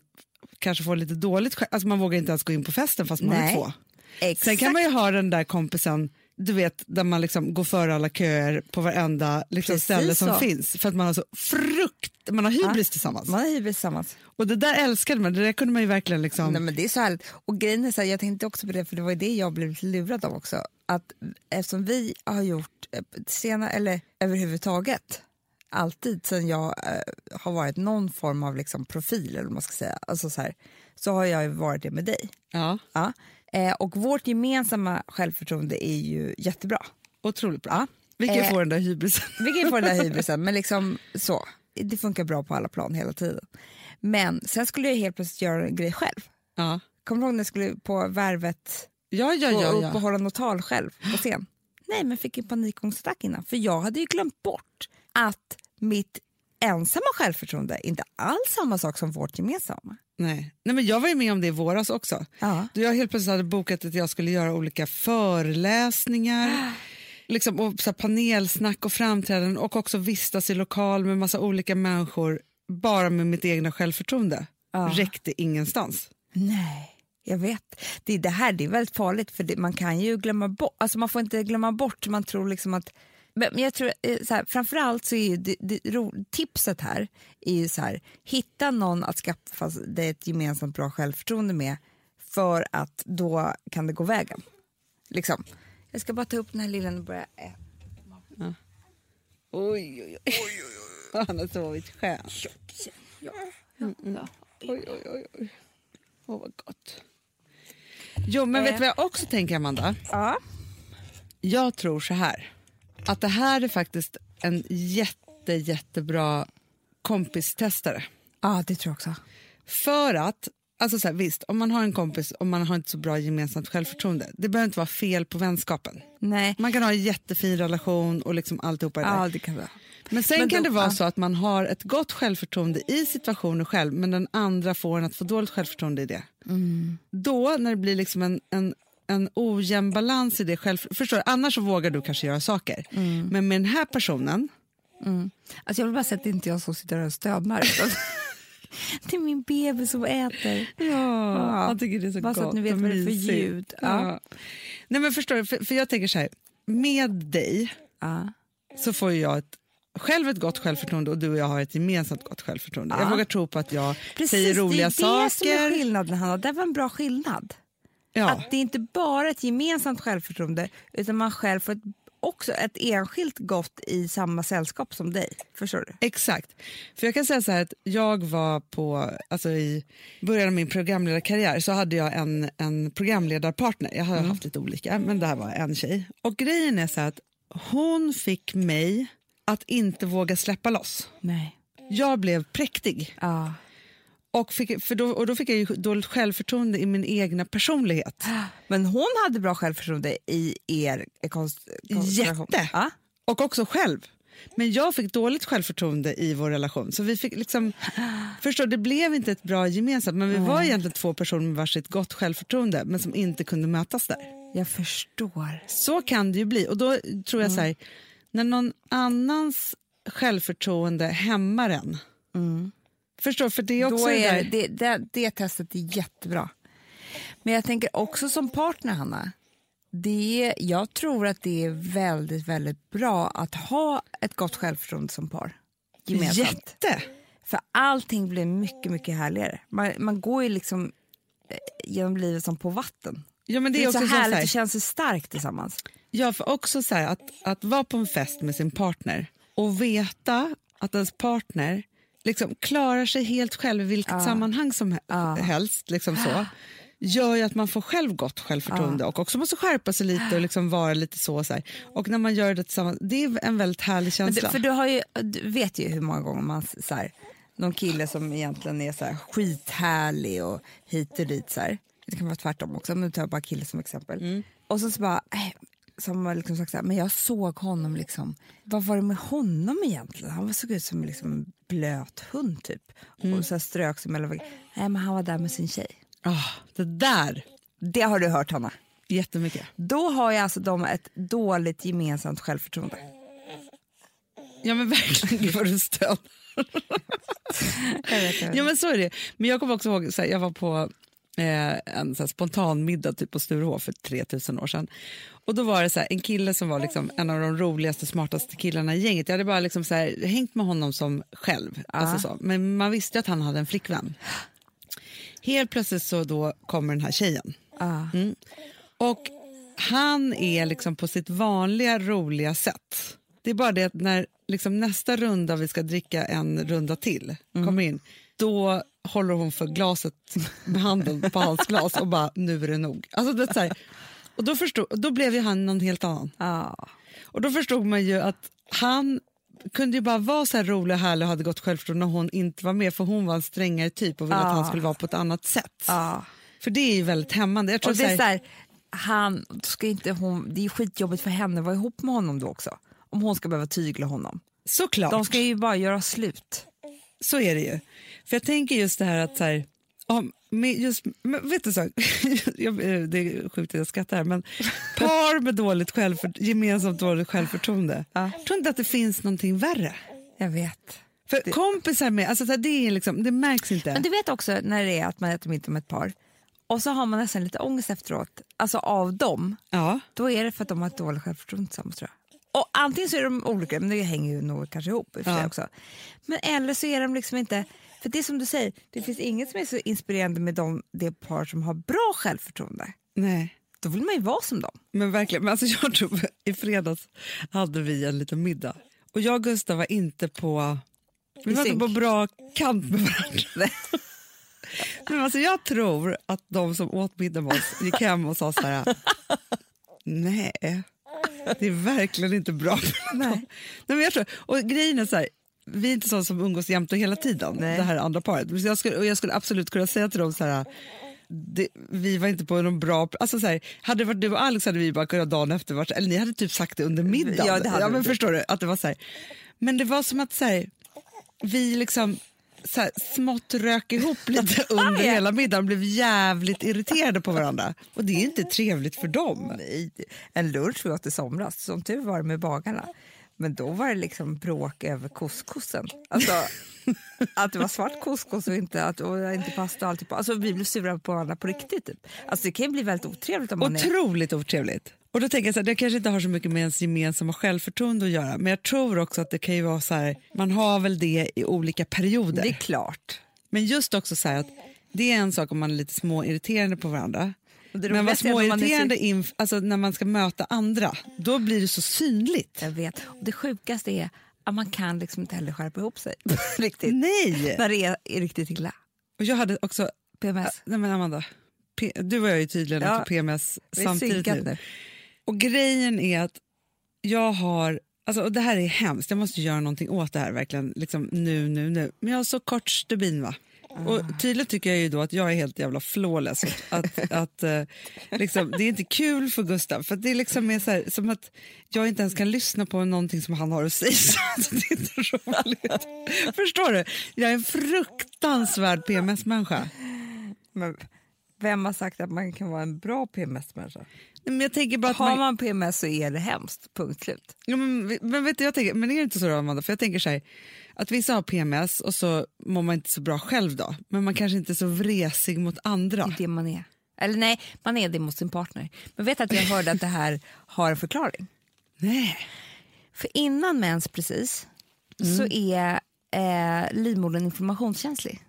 Speaker 1: kanske får lite dåligt, skä- alltså man vågar inte ens gå in på festen fast man är
Speaker 2: Nej.
Speaker 1: två.
Speaker 2: Exakt.
Speaker 1: Sen kan man ju ha den där kompisen, du vet, där man liksom går före alla köer på varenda liksom
Speaker 2: Precis
Speaker 1: ställe som
Speaker 2: så.
Speaker 1: finns för att man har så frukt, man har hybris tillsammans. Mm.
Speaker 2: Man har hybris tillsammans.
Speaker 1: Och det där älskade man, det där kunde man ju verkligen liksom,
Speaker 2: Nej, men det är så härligt. Och grejen är så här, jag tänkte också på det, för det var ju det jag blev lite lurad av också. Att eftersom vi har gjort eh, sena, eller överhuvudtaget, alltid sen jag eh, har varit någon form av liksom profil, eller vad man ska säga, alltså så, här, så har jag ju varit det med dig.
Speaker 1: ja,
Speaker 2: Ja. Eh, och vårt gemensamma självförtroende är ju jättebra.
Speaker 1: otroligt bra. Vilken
Speaker 2: Eh.
Speaker 1: får den där hybrisen?
Speaker 2: Vilket får den där hybrisen, men liksom så. Det funkar bra på alla plan hela tiden. Men sen skulle jag helt plötsligt göra en grej själv.
Speaker 1: ja.
Speaker 2: Kommer du ihåg när jag skulle på Värvet
Speaker 1: Ja, ja,
Speaker 2: gå
Speaker 1: ja,
Speaker 2: upp
Speaker 1: ja.
Speaker 2: och hålla något tal själv på scen? Nej, men fick en panikångestattack innan. För jag hade ju glömt bort att mitt ensamma självförtroende är inte alls samma sak som vårt gemensamma.
Speaker 1: Nej. Nej, men jag var ju med om det i våras också.
Speaker 2: Ja.
Speaker 1: Då jag helt plötsligt hade bokat att jag skulle göra olika föreläsningar, liksom, och så här panelsnack och framträdanden och också vistas i lokal med massa olika människor bara med mitt egna självförtroende. Räckte ingenstans.
Speaker 2: Nej, jag vet. Det, är det här det är väldigt farligt för det, man kan ju glömma bort, alltså man får inte glömma bort, man tror liksom att men men jag tror, eh, så här, framförallt så är ju det, det, ro- tipset här är ju så här, hitta någon att skaffa dig ett gemensamt bra självförtroende med för att då kan det gå vägen. Liksom. Jag ska bara ta upp den här lillen och börja äta.
Speaker 1: Oj, oj, oj. Han har sovit skönt. Oj, oj, oj. oj. Mm, Åh, vad gott. Eh. Jo, men vet du vad jag också tänker, Amanda?
Speaker 2: Ja.
Speaker 1: Jag tror så här. Att det här är faktiskt en jätte, jättebra kompistestare.
Speaker 2: Ja, det tror jag också.
Speaker 1: För att, alltså så här, visst, om man har en kompis och man har inte så bra gemensamt självförtroende, det behöver inte vara fel på vänskapen.
Speaker 2: Nej.
Speaker 1: Man kan ha en jättefin relation och liksom alltihopa det där.
Speaker 2: Ja, det kan vara.
Speaker 1: Men sen
Speaker 2: Men
Speaker 1: kan
Speaker 2: då-
Speaker 1: det vara
Speaker 2: ja.
Speaker 1: så att man har ett gott självförtroende i situationen själv men den andra får en att få dåligt självförtroende i det.
Speaker 2: Mm.
Speaker 1: Då, när det blir liksom en, en, en ojämn balans i det själv, förstår du? Annars så vågar du kanske göra saker.
Speaker 2: Mm.
Speaker 1: Men med den här personen,
Speaker 2: Alltså jag vill bara säga att det inte är jag som sitter här och stönar. utan det är min bebis som äter. Ja,
Speaker 1: jag tycker det är så
Speaker 2: bara så
Speaker 1: gott
Speaker 2: att ni vet
Speaker 1: och
Speaker 2: vad det är för
Speaker 1: mysigt.
Speaker 2: ljud. Ja.
Speaker 1: Ja. Nej men förstår du, för, för jag tänker så här, med dig
Speaker 2: Ja.
Speaker 1: så får ju jag ett själv ett gott självförtroende och du och jag har ett gemensamt gott självförtroende. Jag vågar tro på att jag
Speaker 2: Precis,
Speaker 1: säger roliga
Speaker 2: det är det som är
Speaker 1: saker.
Speaker 2: skillnaden Hanna. Det var en bra skillnad.
Speaker 1: Ja.
Speaker 2: Att det är inte bara ett gemensamt självförtroende utan man själv får ett, också ett enskilt gott i samma sällskap som dig. Förstår du?
Speaker 1: Exakt. För jag kan säga så här att jag var på, alltså i början av min programledarkarriär så hade jag en, en programledarpartner. Jag har haft lite olika, men det här var en tjej. Och grejen är så här att hon fick mig att inte våga släppa loss.
Speaker 2: Nej.
Speaker 1: Jag blev präktig.
Speaker 2: Ja.
Speaker 1: Och, fick, för då, och då fick jag ju dåligt självförtroende i min egna personlighet.
Speaker 2: Men hon hade bra självförtroende i er konst, konstellation.
Speaker 1: Jätte.
Speaker 2: Ja.
Speaker 1: Och också själv. Men jag fick dåligt självförtroende i vår relation. Så vi fick liksom, förstår, det blev inte ett bra gemensamt, men vi var egentligen två personer med varsitt gott självförtroende men som inte kunde mötas där.
Speaker 2: Jag förstår.
Speaker 1: Så kan det ju bli. Och då tror jag så
Speaker 2: Mm.
Speaker 1: här, när någon annans självförtroende hämmar en. Förstår, för det är också
Speaker 2: Mm. Då
Speaker 1: det där.
Speaker 2: är det, det, det testet är jättebra. Men jag tänker också som partner, Hanna. Det är, jag tror att det är väldigt, väldigt bra att ha ett gott självförtroende som par. Gemensamt.
Speaker 1: Jätte!
Speaker 2: För allting blir mycket, mycket härligare. Man, man går ju liksom eh, genom livet som på vatten.
Speaker 1: Ja, men det, är
Speaker 2: så
Speaker 1: också så
Speaker 2: härligt
Speaker 1: så här,
Speaker 2: och känns så starkt tillsammans.
Speaker 1: Ja, för också så här, att, att vara på en fest med sin partner och veta att ens partner liksom klarar sig helt själv i vilket sammanhang som he- helst, liksom så, gör ju att man får själv gott självförtroende och också måste skärpa sig lite och liksom vara lite så. Och, så här. och när man gör det tillsammans, det är en väldigt härlig
Speaker 2: Men du,
Speaker 1: känsla.
Speaker 2: för du, har ju, du vet ju hur många gånger man s- så här, någon kille som egentligen är så här, skithärlig och hit och dit. Så här. Det kan vara tvärtom också, men nu tar jag bara kille som exempel. Och sen så bara, eh, som har liksom sagt så här, men jag såg honom liksom, vad var det med honom egentligen? Han såg ut som liksom en blöt hund typ. Och så här, strök sig mellan väggarna. Nej men han var där med sin tjej.
Speaker 1: Ah, det där,
Speaker 2: Det har du hört Hanna.
Speaker 1: jättemycket.
Speaker 2: Då har ju alltså de ett dåligt gemensamt självförtroende.
Speaker 1: Ja men verkligen, gud vad du stönar. ja men så är det. Men jag kommer också ihåg, så här, jag var på eh, en så här, spontan middag typ på Sturehof för 3000 år sedan. Och då var det så här, en kille som var liksom, en av de roligaste, smartaste killarna i gänget. Jag hade bara liksom, så här, hängt med honom som själv, alltså, så. men man visste ju att han hade en flickvän. Helt plötsligt så då kommer den här tjejen. Mm. Och han är liksom på sitt vanliga roliga sätt. Det är bara det att när liksom nästa runda vi ska dricka en runda till
Speaker 2: Mm.
Speaker 1: kommer in, då håller hon för glaset med handen på hans glas och bara nu är det nog. Alltså, det är så här, och då, förstod, då blev ju han någon helt annan.
Speaker 2: Ja.
Speaker 1: Och då förstod man ju att han kunde ju bara vara så här rolig och härlig och hade gott självförtroende när hon inte var med för hon var en strängare typ och ville
Speaker 2: Ah.
Speaker 1: att han skulle vara på ett annat sätt.
Speaker 2: Ja.
Speaker 1: För det är ju väldigt hämmande. Jag tror
Speaker 2: Ah. Och det är
Speaker 1: så
Speaker 2: så
Speaker 1: här,
Speaker 2: här, han, ska inte hon, det är skitjobbigt för henne att vara ihop med honom då också. Om hon ska behöva tygla honom.
Speaker 1: såklart.
Speaker 2: De ska ju bara göra slut.
Speaker 1: Så är det ju. För jag tänker just det här att så här, om, med just, men vet du så, jag, eh, det är sjukt att jag skrattar här, men par med dåligt självför, gemensamt dåligt självförtroende, tror inte att det finns någonting värre.
Speaker 2: Jag vet.
Speaker 1: För kompisar med, alltså så här, det, är liksom, det märks inte.
Speaker 2: Men du vet också när det är att man äter middag med ett par och så har man nästan lite ångest efteråt, alltså av dem.
Speaker 1: ja.
Speaker 2: Då är det för att de har ett dåligt självförtroende tillsammans tror jag. Och antingen så är de olika, men det hänger ju nog kanske ihop i och för sig
Speaker 1: Ja.
Speaker 2: också. Men eller så är de liksom inte, för det är som du säger, det finns inget som är så inspirerande med de, det par som har bra självförtroende.
Speaker 1: Nej.
Speaker 2: Då vill man ju vara som dem.
Speaker 1: Men verkligen, men alltså jag tror, i fredags hade vi en liten middag och jag och Gustav var inte på, vi
Speaker 2: I
Speaker 1: var inte
Speaker 2: synk.
Speaker 1: på bra kant med varandra. men alltså jag tror att de som åt middag med oss gick hem och sa så här, nej, det är verkligen inte bra. Nej. nej men jag tror, och grejen är så här, vi är inte sådana som umgås jämt och hela tiden, det här andra paret. Så jag skulle, och jag skulle absolut kunna säga till dem så här, det, vi var inte på någon bra... Alltså så här, hade det varit du och Alex hade vi bara kunnat dagen efter varit, eller ni hade typ sagt det under middagen.
Speaker 2: Ja, det hade vi.
Speaker 1: men förstår du? Att det var så här. Men det var som att så här, vi liksom så här, smått rök ihop lite under hela middagen blev jävligt irriterade på varandra. Och det är inte trevligt för dem.
Speaker 2: i en lunch vi åt i somras. Som tur var det med bagarna. Men då var det liksom bråk över couscousen. Alltså, att det var svart couscous och inte, att, och inte pasta och allt. typ. Alltså, vi blev sura på varandra på riktigt. Typ. Alltså, det kan ju bli väldigt otrevligt om man är...
Speaker 1: Otroligt otrevligt. Och då tänker jag så här, det kanske inte har så mycket med ens gemensamma självförtroende att göra, men jag tror också att det kan ju vara så här, man har väl det i olika perioder.
Speaker 2: Det är klart.
Speaker 1: Men just också så här att det är en sak om man är lite småirriterande på varandra.
Speaker 2: det
Speaker 1: Men vad
Speaker 2: roligaste är när man är
Speaker 1: småirriterande inf- alltså när man ska möta andra, då blir det så synligt.
Speaker 2: Jag vet. Och det sjukaste är att man kan liksom inte heller skärpa ihop sig riktigt.
Speaker 1: Nej!
Speaker 2: När det är, är riktigt illa.
Speaker 1: Och jag hade också,
Speaker 2: PMS.
Speaker 1: nej men Amanda, P- du och jag är ju tydligen
Speaker 2: Ja,
Speaker 1: också PMS
Speaker 2: Vi är
Speaker 1: samtidigt
Speaker 2: synkat
Speaker 1: nu. Och grejen är att jag har, alltså, och det här är hemskt, jag måste göra någonting åt det här verkligen, liksom nu, nu, nu. Men jag har så kort stubin va. Och tydligt tycker jag ju då att jag är helt jävla flawless. Att, att, eh, liksom, det är inte kul för Gustav, för att det liksom är så här, som att jag inte ens kan lyssna på någonting som han har att säga. Så att det är inte roligt. Förstår du? Jag är en fruktansvärd PMS-människa.
Speaker 2: Men Vem har sagt att man kan vara en bra PMS-människa?
Speaker 1: Nej, Men jag tänker bara att
Speaker 2: Har
Speaker 1: man,
Speaker 2: man PMS så är det hemskt, punkt slut.
Speaker 1: Ja, men, men vet du, jag tänker, men är det inte så då Amanda? För jag tänker så här, att vissa har PMS och så mår man inte så bra själv då, men man kanske inte är så vresig mot andra.
Speaker 2: Det är det man är. Eller nej, man är det mot sin partner. Men vet att jag hörde att det här har en förklaring.
Speaker 1: Nej.
Speaker 2: För innan mens precis
Speaker 1: Mm.
Speaker 2: så är eh, livmodern informationskänslig.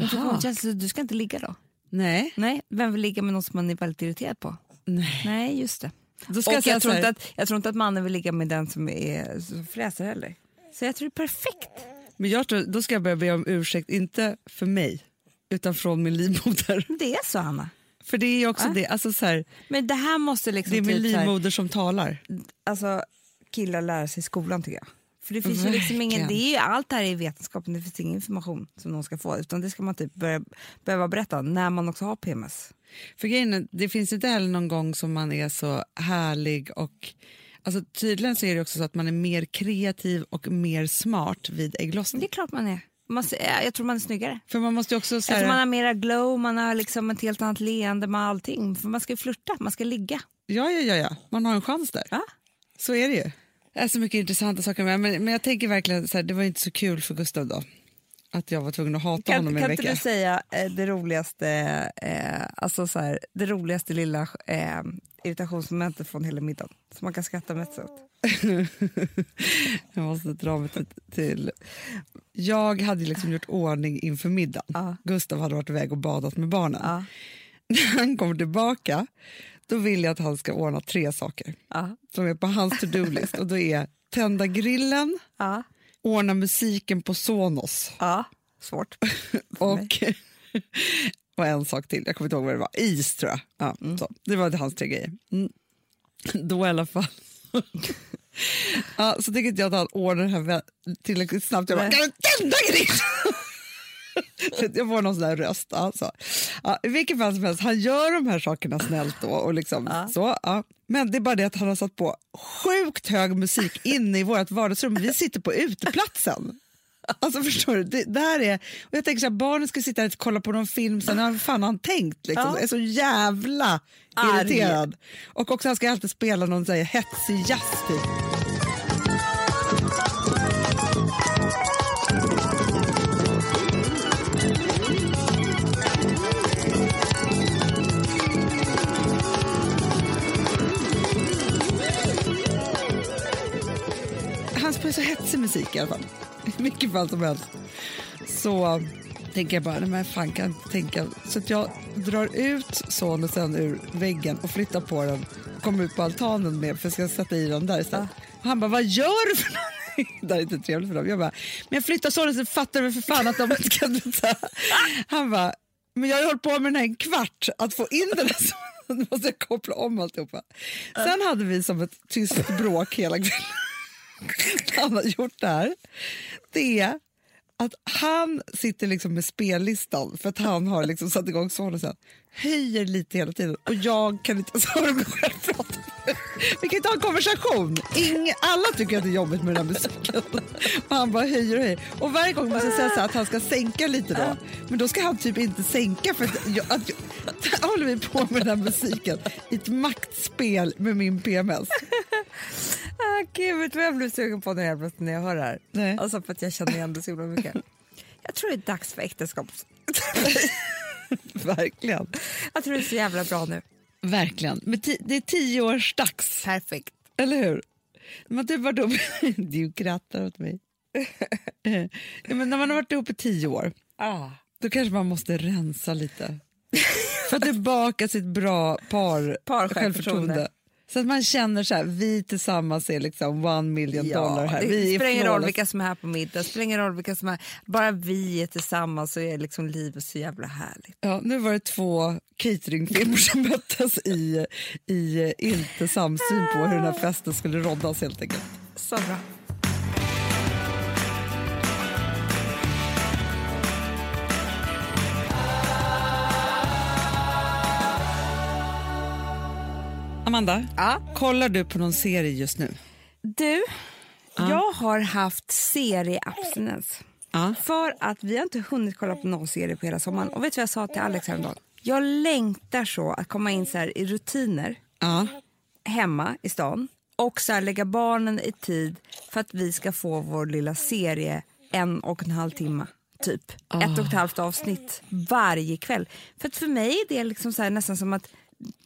Speaker 2: Informationskänslig, du ska inte ligga då.
Speaker 1: Nej.
Speaker 2: Nej, vem vill ligga med någon som man är väldigt irriterad på?
Speaker 1: Nej.
Speaker 2: Nej, just det.
Speaker 1: Då ska
Speaker 2: Och
Speaker 1: jag säga
Speaker 2: jag, tror
Speaker 1: så
Speaker 2: inte
Speaker 1: här-
Speaker 2: att, jag tror inte att mannen vill ligga med den som, är, som fräser heller. Så jag tror det är perfekt.
Speaker 1: Men jag tror, då ska jag börja be om ursäkt, inte för mig, utan från min livmoder.
Speaker 2: Det är så, Anna.
Speaker 1: För det är ju också det, alltså så här,
Speaker 2: Men det här måste liksom...
Speaker 1: det är min
Speaker 2: typ Ah. så här-
Speaker 1: livmoder som talar.
Speaker 2: alltså, killar lära sig i skolan tycker jag. För det finns ju liksom ingen,
Speaker 1: Verkligen.
Speaker 2: det är ju, allt det här är vetenskapen, det finns ingen information som någon ska få utan det ska man typ börja, behöva berätta när man också har PMS.
Speaker 1: För grejen är, det finns inte heller någon gång som man är så härlig och Alltså tydligen så är det också så att man är mer kreativ och mer smart vid
Speaker 2: Men det är
Speaker 1: ägglossning.
Speaker 2: klart man är. Man, ser- ja, jag tror man är snyggare.
Speaker 1: För man måste ju också så
Speaker 2: Jag
Speaker 1: här,
Speaker 2: tror man har mera glow, man har liksom ett helt annat leende med allting. För man ska ju flirta, man ska ligga.
Speaker 1: Ja, ja, ja, ja, man har en chans där.
Speaker 2: Ja.
Speaker 1: Så är det ju. Det är så mycket intressanta saker med, men, men jag tänker verkligen så här, det var inte så kul för Gustav då. Att jag var tvungen att hata honom
Speaker 2: Kan,
Speaker 1: i en
Speaker 2: kan inte
Speaker 1: vecka.
Speaker 2: du säga eh, det roligaste, eh, alltså så här, det roligaste lilla eh, irritationsmomentet från hela middagen? Som man kan skratta mest åt.
Speaker 1: jag måste dra mig till, till... Jag hade ju liksom gjort ordning inför middagen. Gustav hade varit iväg och badat med barnen. När han kommer tillbaka då vill jag att han ska ordna tre saker
Speaker 2: Ja.
Speaker 1: som är på hans to-do-list. och då är tända grillen,
Speaker 2: Ja.
Speaker 1: ordna musiken på Sonos.
Speaker 2: Ja, svårt.
Speaker 1: Och, och en sak till, jag kommer inte ihåg vad det var. Is tror jag. Ja, så. Det var hans tre grejer. Mm. Då i alla fall. ja, så tycker inte jag att han ordnar det här vä- tillräckligt snabbt. Jag bara, kan du tända grillen? Jag får någon sån där röst. Alltså. Ja, I vilket fall som helst, han gör de här sakerna snällt då. Och liksom, så, ja. Men det är bara det att han har satt på sjukt hög musik inne i vårt vardagsrum. Vi sitter på uteplatsen. Alltså förstår du, det, det här är, och jag tänker så här, barnen ska sitta här och kolla på någon film, sen har fan han tänkt liksom, är så jävla
Speaker 2: Arg.
Speaker 1: irriterad. Och också han ska alltid spela någon så här, hetsig jazz typ. Han spelar så hetsig musik i alla fall. I vilket fall som helst. Så tänker jag bara, nej men fan kan jag inte tänka. Så att jag drar ut sonusen ur väggen och flyttar på den. Och kommer ut på altanen med för jag ska sätta i den där istället. Och han bara, vad gör du för någonting? Det här är inte trevligt för dem. Jag bara, men jag flyttar sonusen, fattar du för fan att de inte kan flytta? Han bara, men jag har ju hållit på med den här en kvart, att få in den här sonusen. Då måste jag koppla om alltihopa. Sen hade vi som ett tyst bråk hela kvällen han har gjort det här det är att han sitter liksom med spellistan för att han har liksom satt igång sonen sen. Höjer lite hela tiden och jag kan inte ens höra mig själv prata. Vi kan inte ha en konversation. Inge, alla tycker att det är jobbigt med den här musiken. Och han bara höjer och höjer. Och varje gång måste jag säga så här att han ska sänka lite då. Men då ska han typ inte sänka för att jag, att jag, där håller vi på med den här musiken i ett maktspel med min PMS.
Speaker 2: Ah, Gud, vet du vad jag blev sugen på när jag, plötsligt när jag hör det här?
Speaker 1: Nej.
Speaker 2: Alltså för att jag känner igen det så himla mycket. Jag tror det är dags för äktenskap.
Speaker 1: Verkligen.
Speaker 2: Jag tror det är så jävla bra nu.
Speaker 1: Verkligen. Men ti- det är tioårsdags,
Speaker 2: Perfekt.
Speaker 1: eller hur? Man typ varit ihop... du grattar åt mig. ja, men när man har varit ihop i tio år,
Speaker 2: Ah.
Speaker 1: då kanske man måste rensa lite. Få tillbaka sitt bra par,
Speaker 2: Par självförtroende.
Speaker 1: självförtroende. Så att man känner så här, vi tillsammans är liksom one million dollar här.
Speaker 2: det
Speaker 1: vi är
Speaker 2: spelar ingen roll
Speaker 1: flawless.
Speaker 2: vilka som är här på middag, det spelar ingen roll vilka som är Bara vi är tillsammans så är liksom livet så jävla härligt.
Speaker 1: Ja, nu var det två cateringfirmor som möttes i, i eh, inte samsyn på hur den här festen skulle roddas helt enkelt.
Speaker 2: Så bra.
Speaker 1: Amanda,
Speaker 2: Ja.
Speaker 1: kollar du på någon serie just nu?
Speaker 2: Du, jag har haft serieabstinens.
Speaker 1: Ja.
Speaker 2: För att vi har inte hunnit kolla på någon serie på hela sommaren. Och vet du vad jag sa till Alex häromdagen? Jag längtar så att komma in så här i rutiner
Speaker 1: Ja.
Speaker 2: hemma i stan och så här lägga barnen i tid för att vi ska få vår lilla serie en och en halv timme. Typ ett och ett halvt avsnitt varje kväll. För att för mig är det liksom så här nästan som att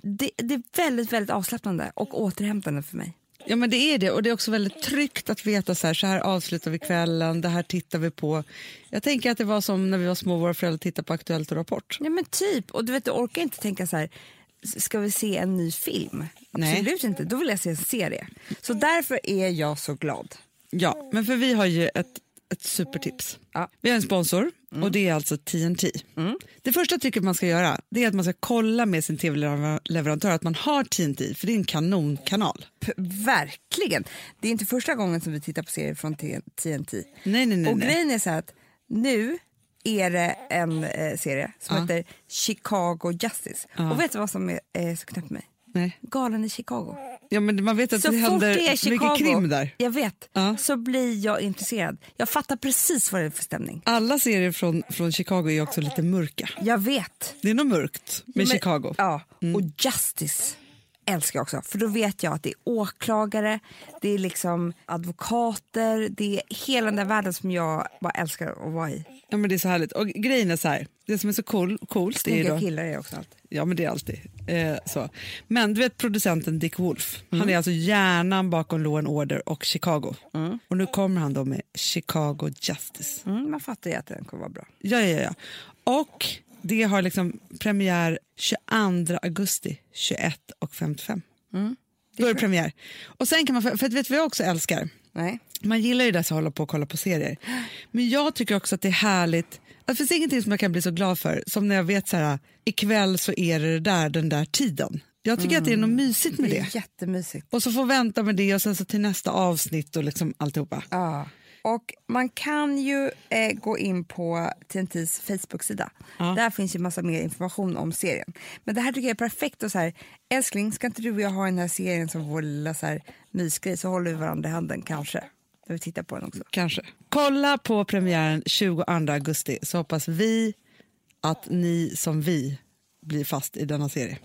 Speaker 2: det, det är väldigt, väldigt avslappnande och återhämtande för mig.
Speaker 1: ja, men det är det. Och det är också väldigt tryggt att veta så här, så här avslutar vi kvällen, det här tittar vi på. Jag tänker att det var som när vi var små, våra föräldrar tittade på Aktuellt och Rapport.
Speaker 2: Ja men typ, och du vet du orkar inte tänka så här ska vi se en ny film?
Speaker 1: Nej.
Speaker 2: Absolut inte, då vill jag se en serie. Så därför är jag så glad.
Speaker 1: Ja, men för vi har ju ett, ett supertips.
Speaker 2: Ja.
Speaker 1: Vi har en sponsor och det är alltså TNT. Det första jag tycker man ska göra det är att man ska kolla med sin tv-leverantör att man har TNT, för det är en kanonkanal.
Speaker 2: P- verkligen. Det är inte första gången som vi tittar på serier från T- TNT.
Speaker 1: Nej, nej, nej.
Speaker 2: och
Speaker 1: nej.
Speaker 2: grejen är så här att nu är det en eh, serie som
Speaker 1: Ja.
Speaker 2: heter Chicago Justice. Och vet du vad som är eh, så knäppt mig?
Speaker 1: nej.
Speaker 2: Galen i Chicago.
Speaker 1: Ja, men man vet att
Speaker 2: Så
Speaker 1: det
Speaker 2: fort
Speaker 1: händer
Speaker 2: det är Chicago,
Speaker 1: mycket krim där.
Speaker 2: jag vet,
Speaker 1: Ja.
Speaker 2: så blir jag intresserad. Jag fattar precis vad det är för stämning.
Speaker 1: Alla serier från, från Chicago är också lite mörka.
Speaker 2: Jag vet.
Speaker 1: Det är nog mörkt med
Speaker 2: Men-
Speaker 1: Chicago. Mm.
Speaker 2: Ja, och Justice älskar jag också. För då vet jag att det är åklagare, det är liksom advokater, det är hela den där världen som jag bara älskar att vara i.
Speaker 1: Ja, men det är så härligt. Och grejen är så här, det som är så cool, coolt det är
Speaker 2: Snygga
Speaker 1: då,
Speaker 2: killar är också allt.
Speaker 1: Ja, men det är alltid eh, så. Men du vet producenten Dick Wolf,
Speaker 2: Mm.
Speaker 1: han är alltså hjärnan bakom Law and Order och Chicago. Och nu kommer han då med Chicago Justice.
Speaker 2: Mm, man fattar ju att den kommer vara bra.
Speaker 1: Ja, ja, ja. Och det har liksom premiär 22 augusti 21 och 55.
Speaker 2: Mm.
Speaker 1: Då är det premiär. Och sen kan man, för, för att vet du vad jag också älskar?
Speaker 2: Nej.
Speaker 1: Man gillar ju det att hålla på och kolla på serier. Men jag tycker också att det är härligt. Att det finns ingenting som jag kan bli så glad för som när jag vet så här, ikväll så är det där den där tiden. Jag tycker att det är något mysigt med
Speaker 2: Det
Speaker 1: det.
Speaker 2: är jättemysigt.
Speaker 1: Och så får vänta med det och sen så till nästa avsnitt och liksom alltihopa.
Speaker 2: Ja. Och man kan ju eh, gå in på TNTs Facebook-sida. Där finns ju massa mer information om serien. Men det här tycker jag är perfekt. Och så här, älskling, ska inte du och jag ha den här serien som vår lilla så här, mysgrej så håller vi varandra i handen kanske. När vi tittar på den också.
Speaker 1: Kanske. Kolla på premiären 22 augusti så hoppas vi att ni som vi blir fast i denna serie.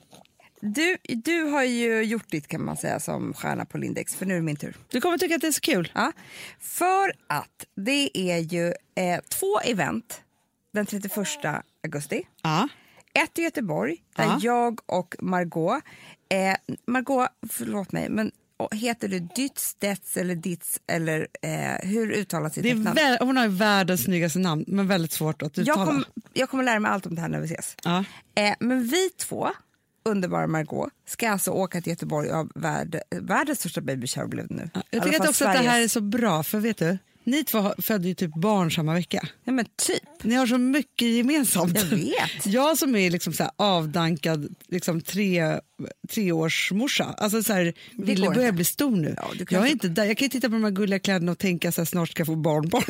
Speaker 2: Du, du har ju gjort ditt kan man säga som stjärna på Lindex, för nu är det min tur.
Speaker 1: Du kommer tycka att det är så kul.
Speaker 2: Ja, för att det är ju eh, två event den 31 augusti.
Speaker 1: Ja.
Speaker 2: Ett i Göteborg, där
Speaker 1: Ja.
Speaker 2: jag och Margot... Eh, Margot, förlåt mig, men och heter du Dytz, Dets eller Ditz? Eller, eh, hur uttalas ditt
Speaker 1: Det är
Speaker 2: efternamn?
Speaker 1: vä- hon har ju världens snyggaste namn men väldigt svårt att uttala.
Speaker 2: jag, kommer, jag kommer lära mig allt om det här när vi ses.
Speaker 1: Ja.
Speaker 2: Eh, men vi två, underbara Margot, ska alltså åka till Göteborg av värld, världens största baby shower blev det nu.
Speaker 1: Ja,
Speaker 2: I
Speaker 1: Jag
Speaker 2: alla
Speaker 1: tycker
Speaker 2: fall
Speaker 1: att också att det
Speaker 2: Sveriges.
Speaker 1: här är så bra, för vet du, ni två har- födde ju typ barn samma vecka.
Speaker 2: Nej, men typ.
Speaker 1: Ni har så mycket gemensamt.
Speaker 2: Jag vet.
Speaker 1: Jag som är liksom så här avdankad liksom tre, treårsmorsa, alltså så här, Ville
Speaker 2: går
Speaker 1: börjar
Speaker 2: inte.
Speaker 1: bli stor nu.
Speaker 2: Ja, du kan
Speaker 1: jag är
Speaker 2: inte-
Speaker 1: inte där. Jag kan ju titta på de här gulliga kläderna och tänka så här, snart ska jag få barnbarn.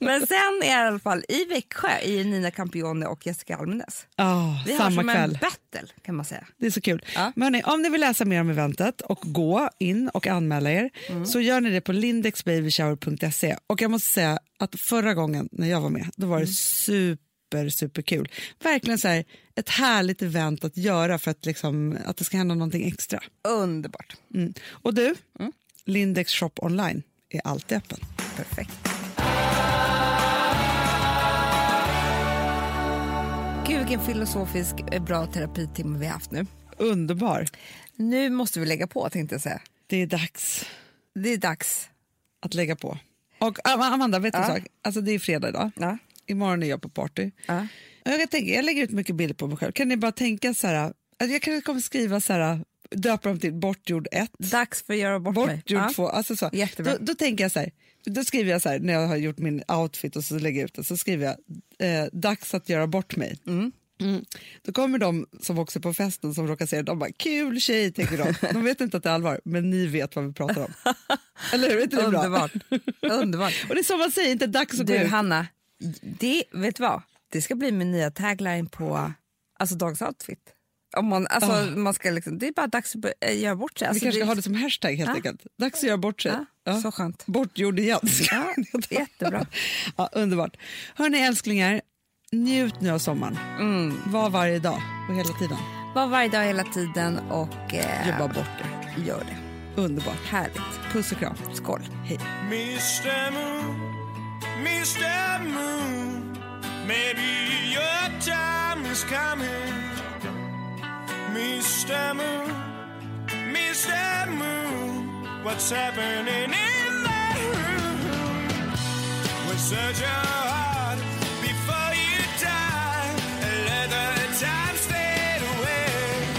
Speaker 2: Men sen är jag i alla fall i Växjö i Nina Campione och Jessica Almenäs.
Speaker 1: Ah,
Speaker 2: Vi har
Speaker 1: samma
Speaker 2: som
Speaker 1: kväll.
Speaker 2: en battle kan man säga.
Speaker 1: Det är så kul.
Speaker 2: Ja.
Speaker 1: Men hörni, om ni vill läsa mer om eventet och gå in och anmäla er så gör ni det på lindexbabyshower.se. Och jag måste säga att förra gången när jag var med, då var det super, super kul. Verkligen så här, ett härligt event att göra för att, liksom, att det ska hända någonting extra.
Speaker 2: Underbart.
Speaker 1: Mm. Och du, Lindex shop online är alltid öppen.
Speaker 2: Perfekt. Gud vilken filosofisk eh, bra terapitimme vi har haft nu.
Speaker 1: Underbar.
Speaker 2: Nu måste vi lägga på tänkte jag säga.
Speaker 1: Det är dags
Speaker 2: Det är dags.
Speaker 1: att lägga på. Och Am- Amanda, vet du en
Speaker 2: Ja.
Speaker 1: sak? Alltså, det är fredag idag.
Speaker 2: Ja.
Speaker 1: Imorgon är jag på party.
Speaker 2: Ja.
Speaker 1: Jag, kan tänka, jag lägger ut mycket bilder på mig själv. Kan ni bara tänka så här, att jag kanske kommer skriva så här, döpa dem till bortgjord 1,
Speaker 2: Dags för att göra bort, mig.
Speaker 1: bortgjord
Speaker 2: Ja.
Speaker 1: 2, alltså så.
Speaker 2: Jättebra.
Speaker 1: Då, då tänker jag så här, då skriver jag så här när jag har gjort min outfit och så lägger jag ut den, så skriver jag eh, dags att göra bort mig. Mm. Då kommer de som också är på festen som råkar se det, de bara kul tjej tänker de. De vet inte att det är allvar, men ni vet vad vi pratar om. Eller hur? Är inte det bra?
Speaker 2: Underbart. Underbart.
Speaker 1: Och det är som man säger, inte dags att gå
Speaker 2: Du
Speaker 1: ut.
Speaker 2: Hanna, det, vet du vad? Det ska bli min nya tagline på alltså, dagens outfit. Om man, alltså, man ska liksom, det är bara dags att börja- eh, göra bort sig.
Speaker 1: Ah. Vi
Speaker 2: Alltså,
Speaker 1: kanske
Speaker 2: det, Ah.
Speaker 1: ska ha det som hashtag helt
Speaker 2: Ja.
Speaker 1: enkelt. Dags att göra bort sig.
Speaker 2: ja,
Speaker 1: Ja.
Speaker 2: Så skönt.
Speaker 1: Bortgjord igen.
Speaker 2: Ah. Ja, jättebra.
Speaker 1: ja, underbart. Hörni älsklingar, njut nu av sommaren.
Speaker 2: Mm.
Speaker 1: Var varje dag och hela tiden.
Speaker 2: Var varje dag hela tiden och eh,
Speaker 1: Jobba bort det.
Speaker 2: gör det.
Speaker 1: Underbart.
Speaker 2: Härligt.
Speaker 1: Puss och kram.
Speaker 2: Skål.
Speaker 1: Hej.
Speaker 7: Mr. Moon, Mr. Moon, maybe your time is coming. Mr. Moon, Mr. Moon, what's happening in that room? With such a heart before you die, and let the time fade away.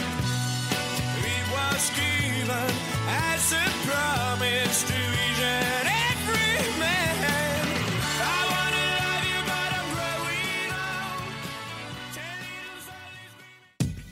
Speaker 7: It was given as a promise to each and every man. I wanna love you, but I'm growing old. Telling you something-